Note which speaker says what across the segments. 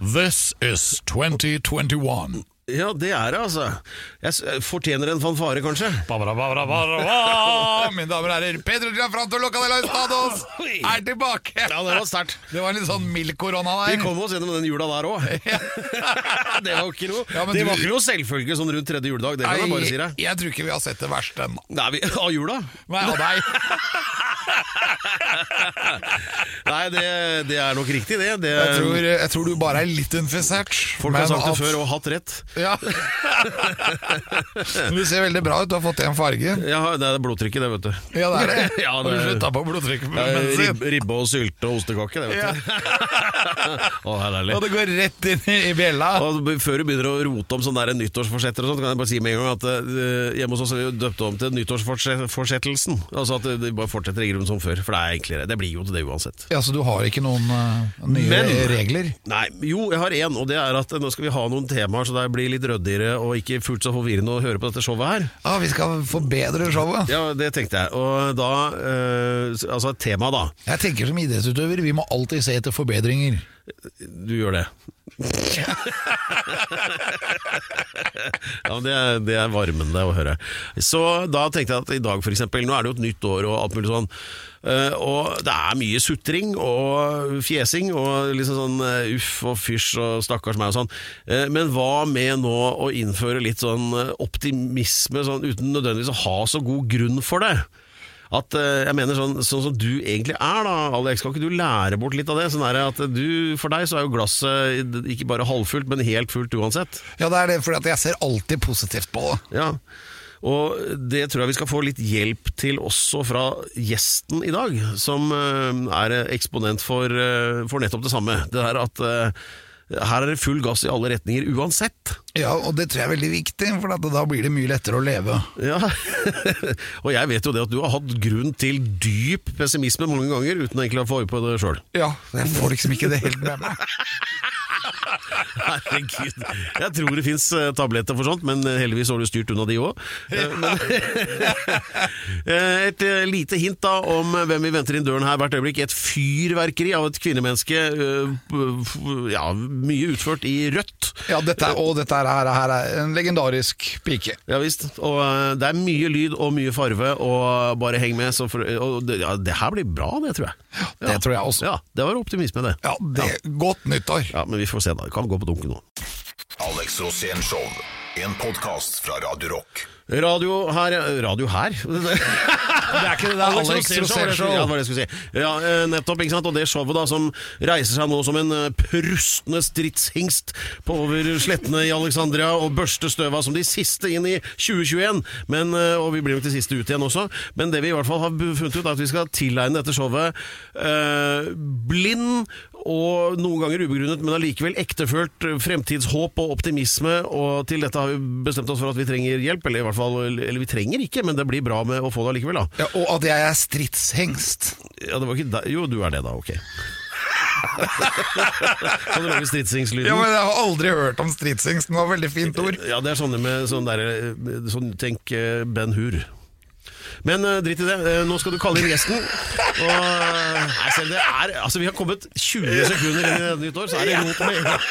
Speaker 1: This is 2021.
Speaker 2: Ja, det er det, altså. Jeg s- fortjener en fanfare, kanskje.
Speaker 1: Babra, babra, babra, babra. Mine damer og herrer, Pedro Gianfranto Locadella Stados er tilbake!
Speaker 2: Ja, det var sterkt.
Speaker 1: Det var en litt sånn mild korona
Speaker 2: Vi
Speaker 1: der.
Speaker 2: kom oss gjennom den jula der òg. det var ikke noe
Speaker 1: Ja, men
Speaker 2: Det
Speaker 1: du-
Speaker 2: var ikke noe selvfølge sånn rundt tredje juledag, det kan jeg bare si
Speaker 1: jeg,
Speaker 2: deg.
Speaker 1: jeg tror ikke vi har sett det verste ennå.
Speaker 2: Nei, vi, av jula?
Speaker 1: Nei, av deg.
Speaker 2: Nei, det, det er nok riktig, det. det
Speaker 1: Jeg tror, jeg tror du bare er litt infisert.
Speaker 2: folk har sagt det før og hatt rett.
Speaker 1: Ja. Men Du ser veldig bra ut, du har fått igjen fargen.
Speaker 2: Ja, det er blodtrykket, det, vet du.
Speaker 1: Ja, det er det.
Speaker 2: Ja, det
Speaker 1: Har du
Speaker 2: er-
Speaker 1: slutta på
Speaker 2: Det er
Speaker 1: blodtrykksmedisin?
Speaker 2: Ribbe, ribbe og sylte og ostekake, det, vet du. Å, herlig.
Speaker 1: Og det går rett inn i i bjella.
Speaker 2: Og b- Før du begynner å rote om sånne der nyttårsforsetter, og sånt, kan jeg bare si med en gang at eh, hjemme hos oss har vi jo døpt det om til nyttårsforsettelsen. Altså at de bare fortsetter i grunnen som før, for det er enklere. Det blir jo til det uansett.
Speaker 1: Ja, Så Altså, du har ikke noen eh, nye
Speaker 2: Men-
Speaker 1: regler?
Speaker 2: Nei, jo, jeg har én, og det er at eh, nå skal vi ha noen temaer, så det blir litt ryddigere og ikke fullt så forvirrende å høre på dette showet her.
Speaker 1: Ah, vi skal forbedre showet.
Speaker 2: Ja, det tenkte jeg. Og da eh, s- Altså et tema, da.
Speaker 1: Jeg tenker som idrettsutøver, vi må alltid se etter forbedringer.
Speaker 2: Du gjør det. ja, men det, er- det er varmende å høre. Så da tenkte jeg at i dag for eksempel, nå er det jo et nytt år og alt mulig sånn, eh, og det er mye sutring og fjesing og liksom sånn eh, uff og fysj og stakkars meg og sånn. Eh, Men hva med nå å innføre litt sånn eh, optimisme sånn, uten nødvendigvis å ha så god grunn for det? At eh, jeg mener sånn, sånn som du egentlig er da, Alex, kan ikke du lære bort litt av det? Sånn er det at du, For deg så er jo glasset ikke bare halvfullt, men helt fullt uansett.
Speaker 1: Ja, det er det, fordi at jeg ser alltid positivt på det.
Speaker 2: Ja. Og det tror jeg vi skal få litt hjelp til også fra gjesten i dag, som eh, er eksponent for, eh, for nettopp det samme. Det der at eh, her er det full gass i alle retninger uansett.
Speaker 1: Ja, og det tror jeg er veldig viktig, for at da blir det mye lettere å leve.
Speaker 2: Ja, Og jeg vet jo det at du har hatt grunn til dyp pessimisme mange ganger uten egentlig å få øye på det sjøl.
Speaker 1: Ja, jeg får liksom ikke det helt med meg.
Speaker 2: Herregud. Jeg tror det fins tabletter for sånt, men eh, heldigvis har du styrt unna de òg. Et eh, lite hint da om eh, hvem vi venter inn døren her hvert øyeblikk. Et fyrverkeri av et kvinnemenneske. eh, f- Ja, mye utført i rødt.
Speaker 1: Ja, dette er, og dette her, her er en legendarisk pike.
Speaker 2: Ja visst. Og eh, det er mye lyd og mye farve, og bare heng med. Så for, og det, ja, det her blir bra, det tror jeg.
Speaker 1: det tror jeg også.
Speaker 2: Ja, Det var optimisme, det.
Speaker 1: Ja, det, Godt nyttår.
Speaker 2: Ja, Men vi får se, da. Det kan gå på dunken nå.
Speaker 3: Alex Rosén Show. En podkast fra Radio Rock.
Speaker 2: Radio her Radio her?
Speaker 1: Det er ikke det,
Speaker 2: Alex Rosén Show. Ja, det var det jeg skulle si. Ja, eh, nettopp, ikke sant? Og det showet da som reiser seg nå som en eh, prustende stridshingst på over slettene i Alexandria og børster støva som de siste inn i 2021. Men, eh, og vi blir nok de siste ut igjen også. Men det vi i hvert fall har funnet ut, er at vi skal tilegne dette showet eh, blind og noen ganger ubegrunnet, men allikevel ektefølt eh, fremtidshåp og optimisme. Og til dette har vi bestemt oss for at vi trenger hjelp, eller i hvert fall Eller vi trenger ikke, men det blir bra med å få det allikevel, da.
Speaker 1: Ja, og at jeg er stridshengst.
Speaker 2: Ja, det var ikke deg Jo, du er det da, ok Kan du lage stridsingslyd?
Speaker 1: Ja, men Jeg har aldri hørt om stridshengst, men det var et veldig fint ord.
Speaker 2: Ja, det er sånne med sånn der sånn, Tenk eh, Ben Hur men eh, dritt i det, Eh, nå skal du kalle inn gjesten Og eh, nei, selv det er Altså vi har kommet 20 sekunder inn i det nytt år Så er det rot med en gang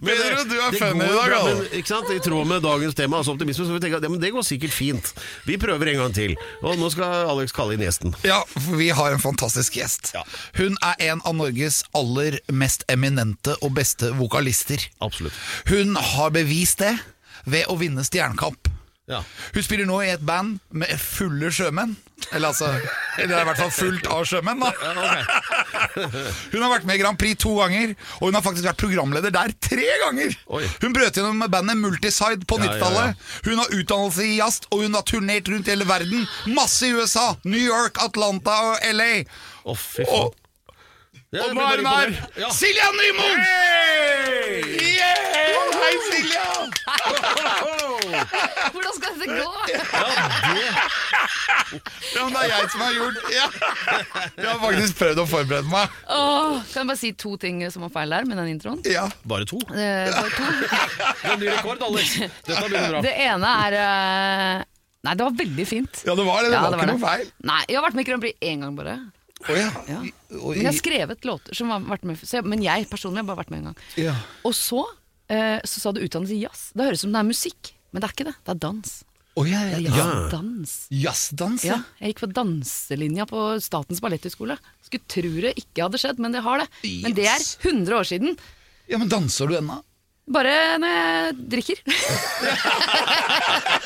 Speaker 2: Men, eh,
Speaker 1: Pedro, du er
Speaker 2: det
Speaker 1: funny i
Speaker 2: går
Speaker 1: dag,
Speaker 2: bra,
Speaker 1: altså.
Speaker 2: men, Ikke sant, i tråd med dagens tema Altså optimisme, så vi tenker at, ja, men det går sikkert fint Vi prøver en gang til Og nå skal Alex kalle inn gjesten
Speaker 1: Ja, for vi har en fantastisk gjest.
Speaker 2: Ja.
Speaker 1: Hun er en av Norges aller mest eminente og beste vokalister.
Speaker 2: Absolutt
Speaker 1: Hun har bevist det ved å vinne Stjernekamp.
Speaker 2: Ja
Speaker 1: Hun spiller nå i et band med fulle sjømenn. Eller altså Eller det er i hvert fall fullt av sjømenn, da. Hun har vært med i Grand Prix to ganger, og hun har faktisk vært programleder der tre ganger!
Speaker 2: Oi.
Speaker 1: Hun brøt gjennom med bandet Multiside på
Speaker 2: Ja,
Speaker 1: 90-tallet. Hun har utdannelse i jazz, og hun har turnert rundt hele verden. Masse i USA, New York, Atlanta og LA.
Speaker 2: Å, fy faen.
Speaker 1: Og,
Speaker 2: Ja,
Speaker 1: og
Speaker 2: jeg
Speaker 1: nå
Speaker 2: ble
Speaker 1: er hun
Speaker 2: bare
Speaker 1: her!
Speaker 2: imponert. Ja.
Speaker 1: Silja Nymoen! Yeah! Hei, Silja!
Speaker 4: Hvordan skal dette gå?
Speaker 1: Ja, men det er jeg som har gjort ja. Jeg har faktisk prøvd å forberede meg.
Speaker 4: Åh, kan jeg bare si to ting som var feil der med den introen?
Speaker 1: Ja.
Speaker 2: Bare to?
Speaker 4: Eh, bare to.
Speaker 2: Det er en ny rekord, Alex. Dette begynner bra.
Speaker 4: Det ene er eh, Nei, det var veldig fint.
Speaker 1: Ja, det var det. Det
Speaker 4: Ja,
Speaker 1: var ikke noe feil.
Speaker 4: Nei, Jeg har vært med i Grand Prix én gang bare.
Speaker 1: Å ja.
Speaker 4: Ja.
Speaker 1: Og i-
Speaker 4: Men jeg har skrevet låter som har vært med så jeg, Men jeg personlig har bare vært med en gang.
Speaker 1: Ja.
Speaker 4: Og så, eh, så sa du utdannelse i jazz. Det høres ut som det er musikk, men det er ikke det. Det er dans.
Speaker 1: Å ja,
Speaker 4: Det er
Speaker 1: ja.
Speaker 4: jazz,
Speaker 2: Ja.
Speaker 4: dans.
Speaker 1: Jazzdans, ja.
Speaker 4: Ja, jeg gikk på danselinja på Statens balletthøgskole. Skulle tro det ikke hadde skjedd, men det har det. Men det er
Speaker 1: Yes.
Speaker 4: 100 år siden.
Speaker 1: ja. Men danser du ennå?
Speaker 4: Bare når jeg drikker.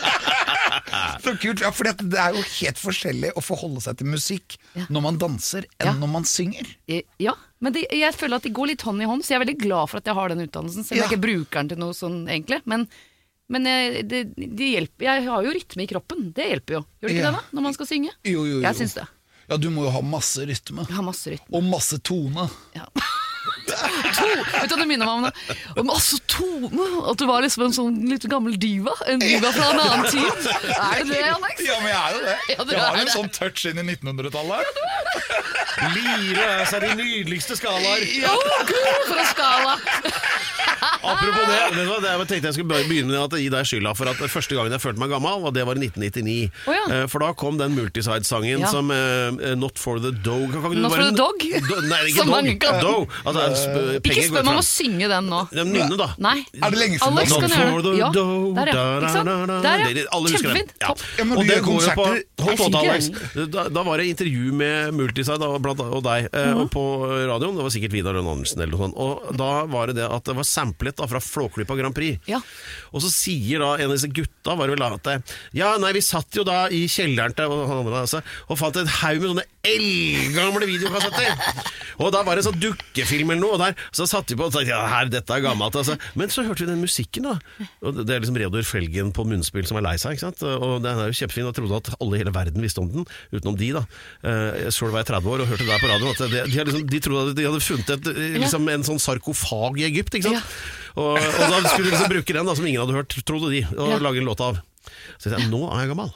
Speaker 1: Så kult, ja, for det er jo helt forskjellig å forholde seg til musikk
Speaker 4: Ja.
Speaker 1: når man danser, enn
Speaker 4: Ja.
Speaker 1: når man synger.
Speaker 4: Eh, Ja, men det, jeg føler at de går litt hånd i hånd, så jeg er veldig glad for at jeg har den utdannelsen. Selv om jeg
Speaker 1: Ja.
Speaker 4: ikke bruker den til noe sånn, egentlig. Men, men eh, det, det hjelper. Jeg har jo rytme i kroppen. Det hjelper jo. Gjør det ikke
Speaker 1: Ja.
Speaker 4: det, da? Når man skal synge.
Speaker 1: Jo, jo, jo.
Speaker 4: Jeg syns det.
Speaker 1: Ja, du må jo ha masse rytme.
Speaker 4: Jeg har masse rytme.
Speaker 1: Og masse tone.
Speaker 4: Ja. To, vet du hva det minner meg om? det? Om altså tone! At du var liksom en sånn litt gammel diva. En diva fra en annen tid. Er det det, Alex?
Speaker 1: Ja, men jeg er jo det.
Speaker 4: Ja, du
Speaker 1: jeg har
Speaker 4: er
Speaker 1: jo en
Speaker 4: det.
Speaker 1: sånn touch inn i 1900-tallet.
Speaker 2: Lire er seg de nydeligste skalaer.
Speaker 4: Å, Gud, for en skala!
Speaker 2: Apropos det, vet du hva, det jeg tenkte jeg skulle bare begynne med at jeg gir deg skylda for at første gangen jeg følte meg gammel, og det var i 1999.
Speaker 4: Å ja.
Speaker 2: Eh, For da kom den Multiside-sangen
Speaker 4: Ja.
Speaker 2: som eh, Not for the dog Kan ikke du
Speaker 4: Not for the dog?
Speaker 2: Do, nei, ikke
Speaker 4: Som
Speaker 2: dog.
Speaker 4: mange kan.
Speaker 2: Dog. Altså, sp- penger
Speaker 4: Ikke
Speaker 2: går
Speaker 4: spør meg om
Speaker 2: fram.
Speaker 4: å synge den nå.
Speaker 2: Ja, men Nynne, da.
Speaker 4: Nei.
Speaker 1: Er det lenge siden
Speaker 4: Alex
Speaker 1: du har
Speaker 4: kan
Speaker 2: Not for
Speaker 4: gjøre det.
Speaker 2: the
Speaker 4: Ja,
Speaker 2: dog
Speaker 4: der, ja.
Speaker 2: da, da,
Speaker 4: Ikke
Speaker 2: da, da.
Speaker 4: sant? Der,
Speaker 2: Det-
Speaker 4: ja.
Speaker 2: Alle husker den.
Speaker 4: Kjempefint. Topp.
Speaker 1: Ja, men
Speaker 2: og
Speaker 1: du
Speaker 2: det
Speaker 1: gjør
Speaker 2: går jo på
Speaker 1: konserter.
Speaker 2: Hold på,
Speaker 4: Jeg
Speaker 2: da, Alex.
Speaker 4: synger
Speaker 2: Da, da var det intervju med Multiside og, blant, og deg eh,
Speaker 4: Mhm.
Speaker 2: og på radioen. Det var sikkert Vidar Lønn Andersen eller noe sånt. Og da var det det at det var samplet da, fra Flåklypa Grand Prix.
Speaker 4: Ja.
Speaker 2: Og så sier da en av disse gutta var det vel da, at det, Ja, nei, vi satt jo da i kjelleren til og, han andre, altså, og fant en haug med sånne eldgamle videokassetter. og da var det en sånn dukkefilm eller noe, og der, så satt vi på og tenkte ja, her, dette er gammelt. Altså. Men så hørte vi den musikken, da. Og det er liksom Reodor Felgen på munnspill som er lei seg, ikke sant. Og den er jo kjempefin, og trodde at alle i hele verden visste om den, utenom de, da. Eh, Jeg så det var jeg 30 år og hørte det der på radioen, at de, de, har liksom, de trodde at de hadde funnet et, eh, liksom, en sånn sarkofag i Egypt, ikke sant.
Speaker 4: Ja.
Speaker 2: Og, og da skulle de liksom bruke den da, som ingen hadde hørt, trodde de, og
Speaker 4: Ja.
Speaker 2: lage en låt av. Så jeg sa, nå er jeg gammel.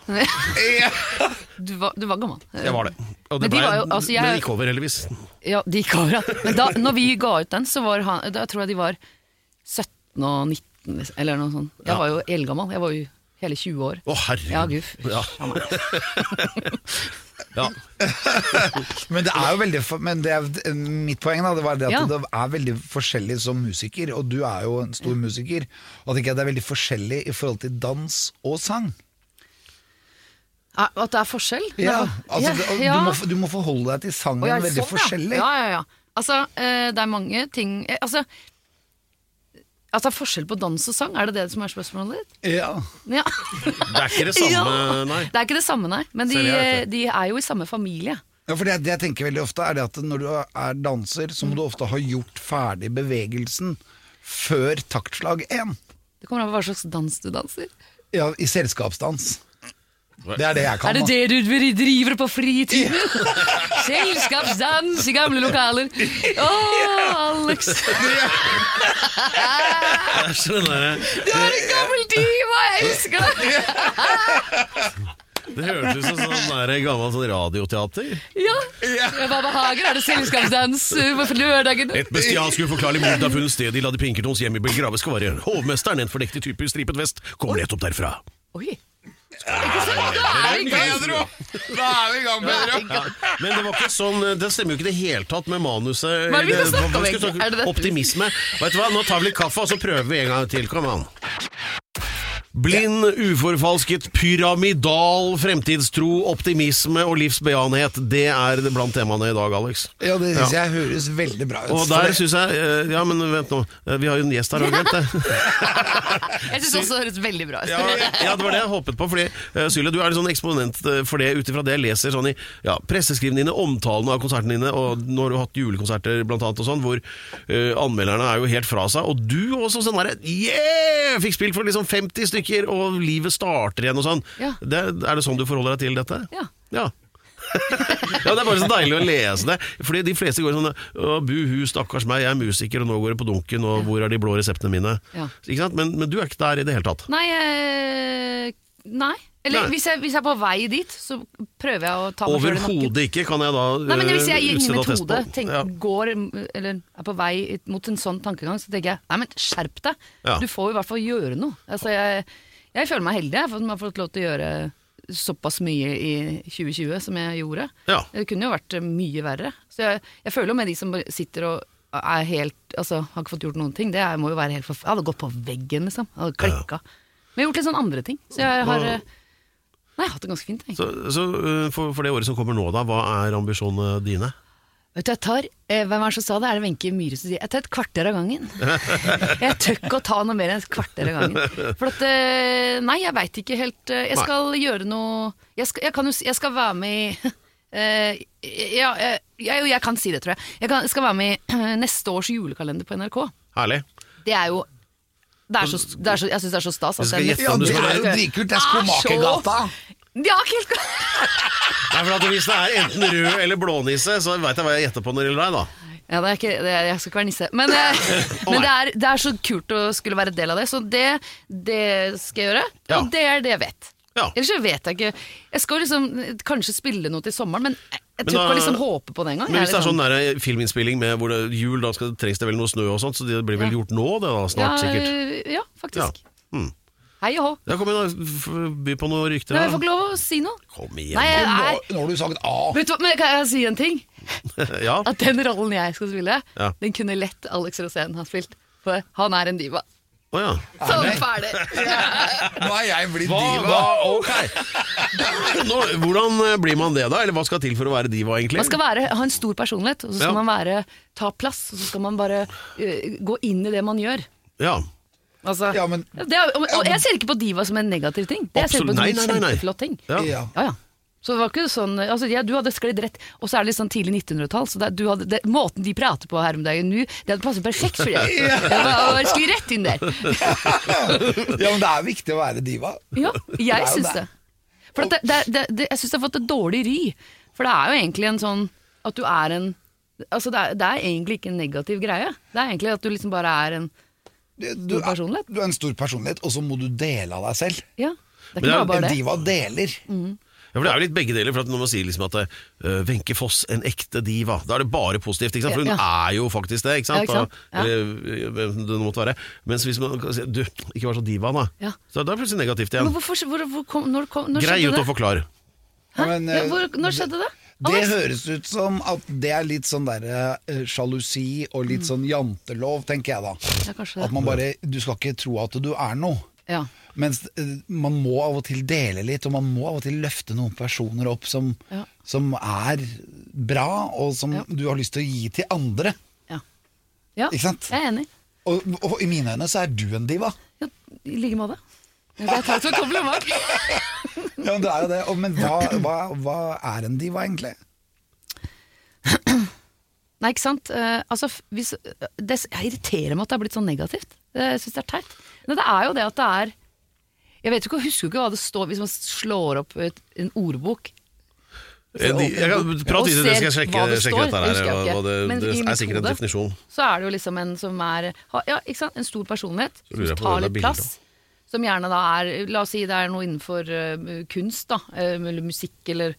Speaker 4: Du var, du var gammel.
Speaker 2: Jeg var det. Og det,
Speaker 4: Men de
Speaker 2: ble,
Speaker 4: var jo- altså, jeg-
Speaker 2: men det gikk over, heldigvis.
Speaker 4: Ja, de gikk over, ja. Men da når vi ga ut den, så var han Da tror jeg de var 17 og 19, liksom, eller noe sånt. Jeg
Speaker 2: Ja.
Speaker 4: var jo eldgammel. Jeg var jo hele 20 år.
Speaker 2: Å, herregud.
Speaker 4: Ja, guff.
Speaker 2: Ja. ja.
Speaker 1: Men det er jo veldig for- Men det er, eh, mitt poeng da, det var det at
Speaker 4: Ja.
Speaker 1: det er veldig forskjellig som musiker, og du er jo en stor musiker. Og at ikke det er veldig forskjellig i forhold til dans og sang.
Speaker 4: Er- At det er forskjell?
Speaker 1: Ja,
Speaker 4: Men-
Speaker 1: altså, det,
Speaker 4: Ja,
Speaker 1: og
Speaker 4: ja.
Speaker 1: Du, må, du må forholde deg til sangen
Speaker 4: Å, ja,
Speaker 1: veldig
Speaker 4: sånn, ja.
Speaker 1: forskjellig.
Speaker 4: Ja, ja, ja. Altså, eh, det er mange ting eh, Altså at det er forskjell på dans og sang, er det det som er spørsmålet ditt?
Speaker 1: Ja.
Speaker 4: Ja.
Speaker 2: Det er ikke det samme,
Speaker 4: Ja.
Speaker 2: nei.
Speaker 4: Det er ikke det samme, nei. Men de,
Speaker 2: Selv jeg er ikke det.
Speaker 4: de er jo i samme familie.
Speaker 1: Ja, for det, det jeg tenker veldig ofte er det at når du er danser, så må du ofte ha gjort ferdig bevegelsen før taktslag 1.
Speaker 4: Det kommer an på hva slags dans du danser.
Speaker 1: Ja, I selskapsdans. Det er det jeg kan. altså.
Speaker 4: Er det
Speaker 1: da.
Speaker 4: det du dri- driver på fritiden? Selskapsdans i gamle lokaler. Å, Alex.
Speaker 2: Jeg skjønner det.
Speaker 4: Du er en gammel diva, jeg elsker deg!
Speaker 2: Det høres ut som sånn der gammel sånn radioteater.
Speaker 4: Ja. Jeg bare behager. Er det selskapsdans uh, på lørdagen?
Speaker 2: Et bestialsk uforklarlig mord har funnet sted i Lade Pinkertons hjem i Belgrave Skvarje. Hovmesteren, en fordektig type i stripet vest, kommer rett opp derfra.
Speaker 4: Oi. Ikke sant? Da er vi i gang.
Speaker 1: Da er vi i gang, Pedro!
Speaker 2: Ja, men det var ikke sånn Det stemmer jo ikke i det hele tatt med manuset.
Speaker 4: Hva er det vi skal
Speaker 2: Det-
Speaker 4: snakke om
Speaker 2: hva vi skal
Speaker 4: egentlig?
Speaker 2: snakke-
Speaker 4: Er det dette?
Speaker 2: Optimisme. Vet du hva, Nå tar vi litt kaffe, og så prøver vi en gang til. Kom an. Blind, uforfalsket, pyramidal fremtidstro, optimisme og livsbejaenhet. Det er det blant temaene i dag, Alex.
Speaker 1: Ja, det syns jeg høres veldig bra ut.
Speaker 2: Og
Speaker 1: for
Speaker 2: der
Speaker 1: det-
Speaker 2: syns jeg eh, Ja, men vent nå. Eh, Vi har jo en gjest her, har du glemt det?
Speaker 4: Jeg syns også det høres veldig bra ut.
Speaker 2: Ja, ja, det var det jeg håpet på. Fordi, eh, Sylvia, du er en sånn eksponent eh, for det ut ifra det jeg leser sånn i ja, presseskrivene dine, omtalene av konsertene dine, og nå har du hatt julekonserter blant annet, og sånn, hvor eh, anmelderne er jo helt fra seg. Og du også sånn derre Yeah! Fikk spilt for liksom 50 stykker, og livet starter igjen og sånn.
Speaker 4: Ja.
Speaker 2: Det, er det sånn du forholder deg til dette?
Speaker 4: Ja.
Speaker 2: ja. ja, Det er bare så deilig å lese det. Fordi de fleste går sånn Å, buhu, stakkars meg, jeg er musiker, og nå går det på dunken, og hvor er de blå reseptene mine?
Speaker 4: Ja.
Speaker 2: Ikke sant? Men, men du er ikke der i det hele tatt.
Speaker 4: Nei, eh, nei. Eller
Speaker 2: Nei.
Speaker 4: Hvis, jeg, hvis jeg er på vei dit, så prøver jeg å ta meg selv i nakken.
Speaker 2: Overhodet ikke, kan jeg da eh,
Speaker 4: Nei, men Hvis jeg i
Speaker 2: utstede
Speaker 4: mitt
Speaker 2: attest på.
Speaker 4: hode tenk,
Speaker 2: Ja.
Speaker 4: går, mm, eller er på vei ut mot en sånn tankegang, så tenker jeg nei, men skjerp deg!
Speaker 2: Ja.
Speaker 4: Du får jo i hvert fall gjøre noe. Altså, jeg, jeg føler meg heldig jeg, for at man har fått lov til å gjøre såpass mye i 2020 som jeg gjorde.
Speaker 2: Ja.
Speaker 4: Det kunne jo vært eh, mye verre. Så jeg, jeg føler jo med de som bare sitter og er helt Altså, har ikke fått gjort noen ting. Det er, må jo være helt forf... Jeg hadde gått på veggen, liksom. Jeg hadde klikka. Men jeg har gjort litt sånn andre ting. Så jeg har eh, Nei, jeg har hatt det ganske fint, jeg.
Speaker 2: Så, så eh, for, for det året som kommer nå, da, hva er ambisjonene dine?
Speaker 4: Vet du, jeg tar, eh, Hvem er det som sa det? Er det Wenche Myhre som sier jeg tar et kvarter av gangen? jeg tør ikke å ta noe mer enn et kvarter av gangen. For at, eh, Nei, jeg veit ikke helt. eh, Jeg
Speaker 2: Nei.
Speaker 4: skal gjøre noe jeg skal, jeg, kan jo, si- jeg skal være med i eh, ja, eh, jeg, jo, jeg kan si det, tror jeg. Jeg kan, skal være med i eh, neste års julekalender på NRK.
Speaker 2: Herlig.
Speaker 4: Det er jo det er så, det er så, Jeg syns det er så stas. at
Speaker 2: skal
Speaker 4: det er
Speaker 2: gjette
Speaker 1: Ja,
Speaker 2: om
Speaker 4: neste-
Speaker 2: du
Speaker 1: det
Speaker 2: skal
Speaker 1: er jo
Speaker 4: være-
Speaker 1: dritkult. Det er
Speaker 4: Ah,
Speaker 1: Skomakergata.
Speaker 4: De har ikke helt
Speaker 2: Nei, for at Hvis det er enten rød eller blånisse, så veit jeg hva jeg gjetter på når det gjelder deg. da
Speaker 4: Ja, det er ikke, det er, jeg skal ikke være nisse. Men, eh, men det, er, det er så kult å skulle være del av det, så det, det skal jeg gjøre.
Speaker 2: Ja.
Speaker 4: Og det er det jeg vet.
Speaker 2: Ja.
Speaker 4: Ellers så vet jeg ikke. Jeg skal liksom kanskje spille noe til sommeren, men jeg, jeg
Speaker 2: Men
Speaker 4: tror ikke
Speaker 2: da-
Speaker 4: jeg liksom håper på det engang.
Speaker 2: Men
Speaker 4: Jeg liksom-
Speaker 2: hvis det er
Speaker 4: litt
Speaker 2: sånn der filminnspilling med hvor det er jul, da skal, trengs det vel noe snø og sånt, så det blir vel gjort nå, det da,
Speaker 4: ja,
Speaker 2: snart sikkert.
Speaker 4: eh, Ja, faktisk.
Speaker 2: Mm.
Speaker 4: Hei og hå.
Speaker 2: Ja, kom igjen, da. f- By på noen rykter.
Speaker 4: Nei,
Speaker 2: da.
Speaker 4: jeg får ikke lov å si noe.
Speaker 2: Kom igjen.
Speaker 4: Nei, jeg
Speaker 1: Nå,
Speaker 4: er
Speaker 1: nå har du sagt A.
Speaker 4: Vet du hva, men Kan jeg si en ting?
Speaker 2: ja.
Speaker 4: At den rollen jeg skal spille,
Speaker 2: Ja.
Speaker 4: den kunne lett Alex Rosén ha spilt. For han er en diva.
Speaker 2: Å, ja.
Speaker 4: Sånn, ferdig.
Speaker 1: Nå er jeg blitt
Speaker 2: Hva,
Speaker 1: diva.
Speaker 2: hva, ok Nå, Hvordan eh, blir man det da? Eller hva skal til for å være diva egentlig?
Speaker 4: Man skal være, ha en stor personlighet, og så skal
Speaker 2: Ja.
Speaker 4: man være, ta plass, og så skal man bare eh, gå inn i det man gjør.
Speaker 2: Ja,
Speaker 4: Altså,
Speaker 1: Ja, men-
Speaker 4: det er, og, og jeg ser ikke på diva som en negativ ting. Det jeg ser på
Speaker 2: Absolutt.
Speaker 4: som
Speaker 2: Nei,
Speaker 4: en
Speaker 2: nei, nei, nei.
Speaker 4: kjempeflott ting.
Speaker 2: ja.
Speaker 1: Ja.
Speaker 4: Ja, ja. Så det var ikke sånn, altså, ja, Du hadde sklidd rett, og så er det litt sånn tidlig 1900-tall. så det, du hadde, det, Måten de prater på her om dagen nå, det hadde passet perfekt for deg. Ja. Skli rett inn der.
Speaker 1: Ja, men det er viktig å være diva.
Speaker 4: Ja,
Speaker 1: er
Speaker 4: jeg
Speaker 1: jo
Speaker 4: syns
Speaker 1: det.
Speaker 4: det. For at det, det, det, det, jeg syns det har fått et dårlig ry. For det er jo egentlig en sånn at du er en Altså, det er, det er egentlig ikke en negativ greie. Det er egentlig at du liksom bare er en
Speaker 1: Du, du,
Speaker 4: stor
Speaker 1: er,
Speaker 4: personlighet.
Speaker 1: du er en stor personlighet, og så må du dele av deg selv.
Speaker 4: Ja.
Speaker 2: Men
Speaker 4: Det er ikke
Speaker 2: det er-
Speaker 4: bare
Speaker 1: En
Speaker 4: bare det. Mm.
Speaker 1: diva deler.
Speaker 2: Ja, for Det er jo litt begge deler. for at Når man sier liksom at eh, Wenche Foss, en ekte diva, da er det bare positivt. ikke sant? For hun
Speaker 4: Ja.
Speaker 2: er jo faktisk det. ikke sant?
Speaker 4: Ja, ikke sant?
Speaker 2: Da- Eller eh, hvem det nå måtte være. Mens hvis man kan si du, ikke vær så diva, da.
Speaker 4: Ja.
Speaker 2: Så da er det plutselig negativt igjen.
Speaker 4: Men hvorfor hvor, hvor kom, når, kom, når
Speaker 2: Grei ut
Speaker 4: skjedde
Speaker 2: å
Speaker 4: det?
Speaker 2: forklare.
Speaker 1: Ja, men,
Speaker 4: Ja,
Speaker 1: eh,
Speaker 4: hvor, når skjedde det?
Speaker 1: Det
Speaker 4: Alex?
Speaker 1: høres ut som at det er litt sånn derre eh, sjalusi og litt sånn jantelov, tenker jeg da.
Speaker 4: Mm. Ja, kanskje
Speaker 1: At
Speaker 4: det.
Speaker 1: man bare Du skal ikke tro at du er noe.
Speaker 4: Ja.
Speaker 1: Mens eh, man må av og til dele litt, og man må av og til løfte noen personer opp som,
Speaker 4: Ja.
Speaker 1: som er bra, og som
Speaker 4: Ja.
Speaker 1: du har lyst til å gi til andre.
Speaker 4: ja. ja.
Speaker 1: Ikke sant?
Speaker 4: Jeg er enig.
Speaker 1: Og, og i mine øyne så er du en diva.
Speaker 4: Ja, I like måte. Jeg tar det som et kompliment.
Speaker 1: Ja, men det er jo det. Og, men hva, hva, hva er en diva, egentlig?
Speaker 4: Nei, ikke sant? Eh, altså, f- hvis, det s- jeg irriterer meg at det er blitt sånn negativt. Eh, Jeg syns det er teit. Men det er jo det at det er Jeg vet jo ikke, jeg husker jo ikke hva det står hvis man slår opp et, en ordbok.
Speaker 2: Eh, de- Jeg kan
Speaker 4: Og
Speaker 2: prate videre,
Speaker 4: ser
Speaker 2: skal jeg
Speaker 4: hva
Speaker 2: sjekke,
Speaker 4: det
Speaker 2: sjekke
Speaker 4: står.
Speaker 2: dette her.
Speaker 4: Det husker jeg
Speaker 2: hva det,
Speaker 4: ikke. Men
Speaker 2: det
Speaker 4: i
Speaker 2: er
Speaker 4: mitt
Speaker 2: sikkert en
Speaker 4: hode-
Speaker 2: definisjon.
Speaker 4: Så er det jo liksom en som er ha- Ja, ikke sant? En stor personlighet.
Speaker 2: lurer
Speaker 4: Som
Speaker 2: jeg på hva det
Speaker 4: tar
Speaker 2: er
Speaker 4: litt
Speaker 2: bilder
Speaker 4: plass. Som gjerne da er La oss si det er noe innenfor eh, kunst, da. eh, eller musikk, eller